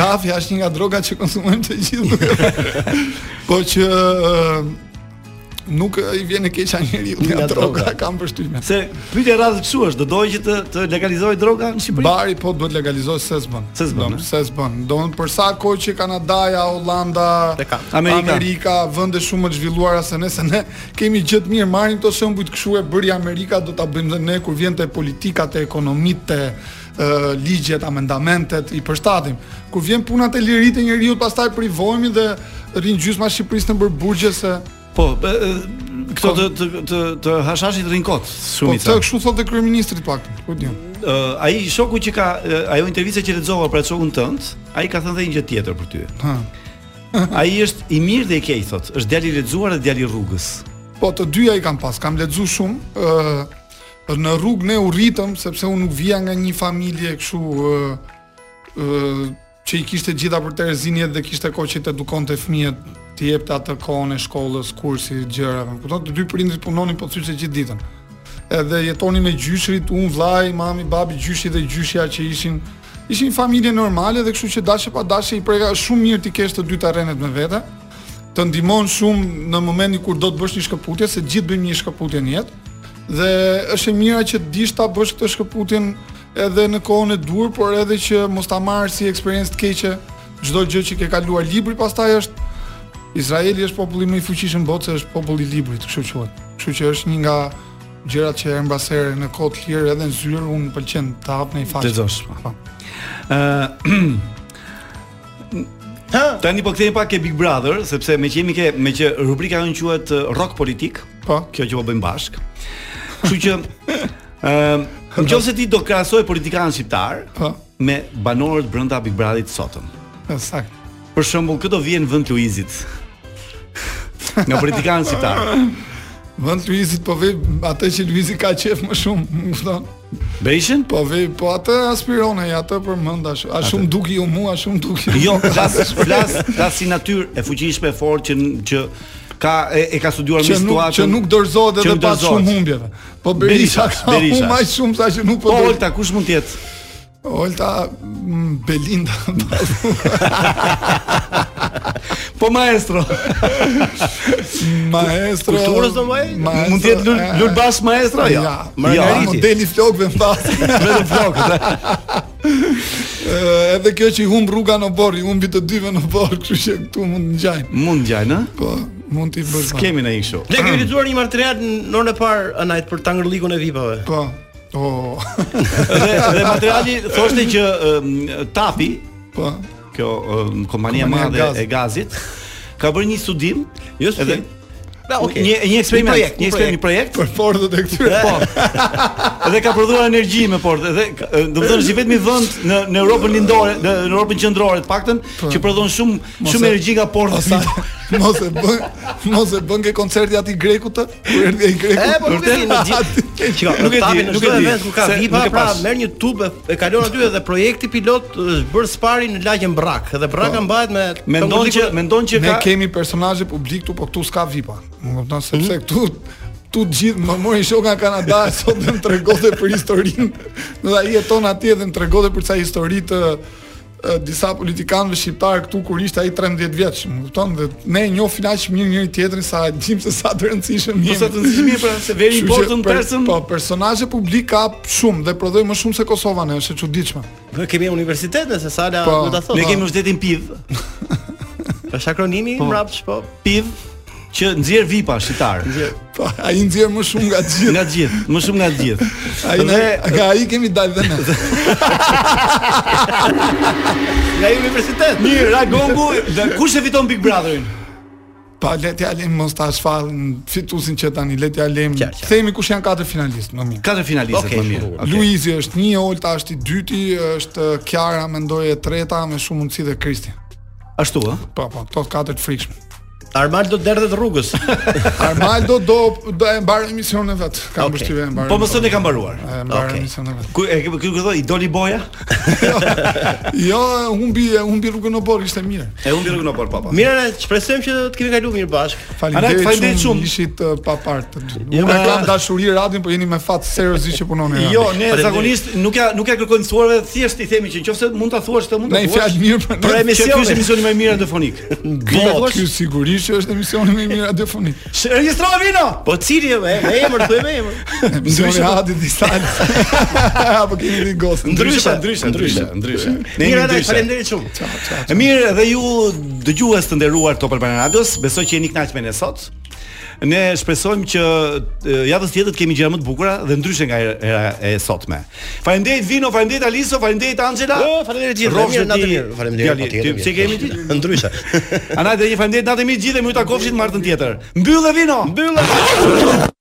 K: Kafi është një nga drogat që konsumojmë të gjithë. po që ë, nuk i vjen e keqa njeriu
F: Nga
K: nga droga,
F: drogat.
K: kam përshtyme.
F: Se pyetja e radhës kështu është, do dojë që të të legalizoj droga në Shqipëri?
K: Bari po duhet legalizoj se s'bën. Se s'bën. Se s'bën. Don për sa kohë që Kanadaja, Holanda,
F: Amerika.
K: Amerika vende shumë të zhvilluara se ne se ne kemi gjë të mirë, marrim këto shembuj të kështu e bëri Amerika, do ta bëjmë dhe ne kur vjen te politika, te ekonomitë, te uh, ligjet, amendamentet i përshtatim. Kur vjen puna te liritë e njeriu, pastaj privohemi dhe rinë gjysma e Shqipërisë në bërburgje se
F: Po, e, e, këto të të të, të hashashit rrin kot,
K: Po
F: shumica.
K: të kështu thotë kryeministri pak, ku diun.
F: Ë, ai shoku që ka ë, ajo intervista që lexova për atë shokun tënd, ai ka thënë dhe një gjë tjetër për ty.
K: Ha.
F: Ai është i mirë dhe i keq thotë, është djalë i lexuar dhe djalë i rrugës.
K: Po të dyja i kam pas, kam lexuar shumë. ë në rrugë ne u rritëm sepse unë nuk vija nga një familje kështu ë ë që i kishte gjitha për Terezinjet dhe kishte kohë që të edukonte fëmijët, të jepte atë kohën e shkollës, kursi, gjërave. Më kupton, të dy prindrit punonin pothuajse gjithë ditën. Edhe jetonin me gjyshrit, unë vllai, mami, babi, gjyshi dhe gjyshja që ishin ishin familje normale dhe kështu që dashje pa dashje i preka shumë mirë ti kesh të dy terrenet me vete të ndihmon shumë në momentin kur do të bësh një shkëputje, se gjithë bëjmë një shkëputje në jetë. Dhe është e mira që të dish ta bësh këtë shkëputjen edhe në kohën e dur, por edhe që mos ta marrësh si eksperiencë të keqe çdo gjë që ke kaluar libri, pastaj është Izraeli është populli më i fuqishëm në botë, se është populli i librit, kështu quhet. Kështu që është një nga gjërat që e mbasere në kohë të lirë edhe në zyrë unë më pëlqen të hap në i faqe.
F: Lexosh, po. Ë Tani po kthehemi pak ke Big Brother, sepse me që jemi ke me që rubrika jonë quhet ë, Rock Politik.
K: Po.
F: Kjo që po bëjmë bashk. Kështu që ë Në qoftë se ti do krahasoj politikanë shqiptar
K: Po.
F: me banorët brenda Big Brotherit sotëm.
K: Është Sakt.
F: Për shembull, këto vjen në vend Luizit. Nga politikanë shqiptar.
K: Vend Luizit po vej atë që Luizi ka qef më shumë, më kupton.
F: Beishin?
K: Po vej, po atë aspiron ai atë përmend ashtu. A shumë duki u mua, shumë duki. u
F: Jo,
K: mua.
F: flas flas flas si natyrë e fuqishme e fortë që që ka e, e ka studiuar
K: që
F: me
K: nuk
F: situatën.
K: që nuk dorëzohet edhe
F: nuk
K: pas
F: dorëzohet.
K: shumë humbjeve. Po Berisha ka
F: Berisha.
K: humbë aq shumë sa që nuk po.
F: Po
K: dorë-
F: Olta, kush mund të jetë?
K: Olta mm, Belinda.
F: po maestro.
K: maestro.
F: Kulturës do më? Mund të jetë Lul Lulbas maestro? Jo.
K: Ja,
F: Margariti.
K: ja, modeli flokëve mbas.
F: Vetëm flokët.
K: Edhe kjo që i humb rruga në borë, i humbi të dyve në borë, kështu që këtu mund të ngjajnë.
F: Mund ngjajnë, ë?
K: Po, mund t'i bësh. bashkë.
F: Skemi në i kështu.
G: Ne kemi lexuar një material në orën e parë anajt për tangërllikun e vipave.
K: Po. Oh.
F: Dhe, dhe materiali thoshte që um, Tapi,
K: po,
F: kjo um,
G: Kompania
F: kompania e madhe
G: Gazit.
F: e gazit, ka bërë një studim, jo
G: studim. Da, okay.
F: Një një eksperiment,
G: Një projekt,
F: një
G: një
F: eksperiment, një projekt.
K: për fortët e këtyre.
F: Po. Dhe ka prodhuar energji me portë dhe ka- do të thonë është i vetmi vend në në Europën lindore, në në Europën qendrore të paktën që prodhon shumë
K: Mos
F: shumë
K: e-
F: energji nga portë.
K: Mos e- mos e bën, mos e bën ke koncerti aty grekut të, kur erdhi ai greku.
G: E, po nuk e di, në gjithë.
F: Çka?
G: Nuk e di, nuk e di. Ku ka
F: Se
G: vipa,
F: nuk e
G: pra
F: pash.
G: merr një tub e, e kalon aty dhe projekti pilot është bërë spari në lagjen Brak, dhe Braka mbahet Po. me
F: Mendon që mendon që
K: Ne
F: ka
K: kemi personazhe publik këtu, po këtu s'ka vipa. Më kupton sepse
G: Hmm?
K: këtu tu gjithë më mori shok nga Kanada sot dhe më tregote për historinë. Do ai jeton atje dhe më tregote për ca histori të e, disa politikanëve shqiptar këtu kur ishte ai 13 vjeç, më kupton? Dhe ne e njohim aq mirë njëri tjetrin sa e dim se sa të rëndësishëm
G: Po
K: jemi.
F: sa të rëndësishmi, pra, se very
K: Kështu që
F: important
K: per-
F: person.
K: Po, personazhe publik ka shumë dhe prodhoi më shumë se Kosova ne, është e çuditshme.
G: Ne kemi universitet nëse sala
K: Po,
G: do ta thotë.
F: ne kemi vërtetin PIV,
G: është akronimi i mbrapsht, po.
F: PIV që nxjerr vipa shqiptar
K: Po, ai nxjerr më shumë nga gjithë.
F: nga të gjithë, më shumë nga të gjithë.
K: Ai
F: Dhe
K: na- nga ai kemi dalë dhe ne.
G: Nga universitet.
F: mirë, Ragongu, dhe kush e fiton Big Brotherin?
K: Pa le t'ja lejmë mos ta shfallin fitusin që tani le t'ja lejmë.
G: Qartë, qartë.
K: Themi kush janë katër finalistë, më mirë.
F: Katër finalistët
G: Okej,
F: më mirë.
G: shumë
K: Luizi është një, Olta është i dyti, është Kiara mendoj e treta me shumë mundësi dhe Kristi.
F: Ashtu ë?
K: Po, po, këto katër të frikshme.
L: Armal do të derdhet rrugës.
K: Armaldo do do e mbar emisionin e vet. Kam
L: Okej.
K: përshtypjen e mbar.
L: Po mëson e kam mbaruar.
K: E mbar
L: Okej.
K: emisionin e vet.
F: Ku e ku ku thoi Doli Boja?
K: Jo, e humbi e humbi rrugën në Borg, ishte mirë.
F: E humbi rrugën apo papa.
G: Mirë, ne shpresojmë që të kemi kaluar mirë bashkë.
K: Faleminderit shumë. Faleminderit shumë. Ishit uh, pa part. Unë e kam dashuri radion, po jeni me fat seriozisht që punoni. radio.
F: Jo, ne zakonisht nuk ja nuk ja kërkojmë mësuarve, thjesht i themi që nëse mund ta thuash të mund ta
K: Ne i
F: thuash. Pra
K: fjalë mirë për-
F: për emisionin.
K: Që ky
F: Ky
K: është
F: është emisioni më i mirë radiofonik.
K: Ky ky sigurisht që është emisioni më i mirë radiofonik.
F: Regjistro vino.
G: Po cili e me me emër thuaj me emër.
K: Emisioni hadi distancë. Apo keni një gosë.
F: Ndryshe, ndryshe, ndryshe, ndryshe.
G: Mirë,
F: Ne jemi
G: Anaj,
F: ndryshe.
G: faleminderit shumë.
F: E mirë dhe ju dëgjues të nderuar Top Albana Radios, besoj që jeni kënaqur me ne sot. Ne shpresojmë që e, javës tjetër të kemi gjëra më të bukura dhe ndryshe nga era e sotme. Faleminderit Vino, faleminderit Aliso, faleminderit Angela.
G: Po, faleminderit gjithë.
F: Rrofshë
G: Mirë, natë
F: ti,
G: mirë. Faleminderit,
F: djali,
G: patjetër,
F: ti-
G: mirë.
F: Si kemi ti?
G: Ndryshe.
F: Ana, dhe një faleminderit natë mirë gjithë dhe më ju takofshit martën tjetër. Mbyllë Vino.
G: Mbyllë.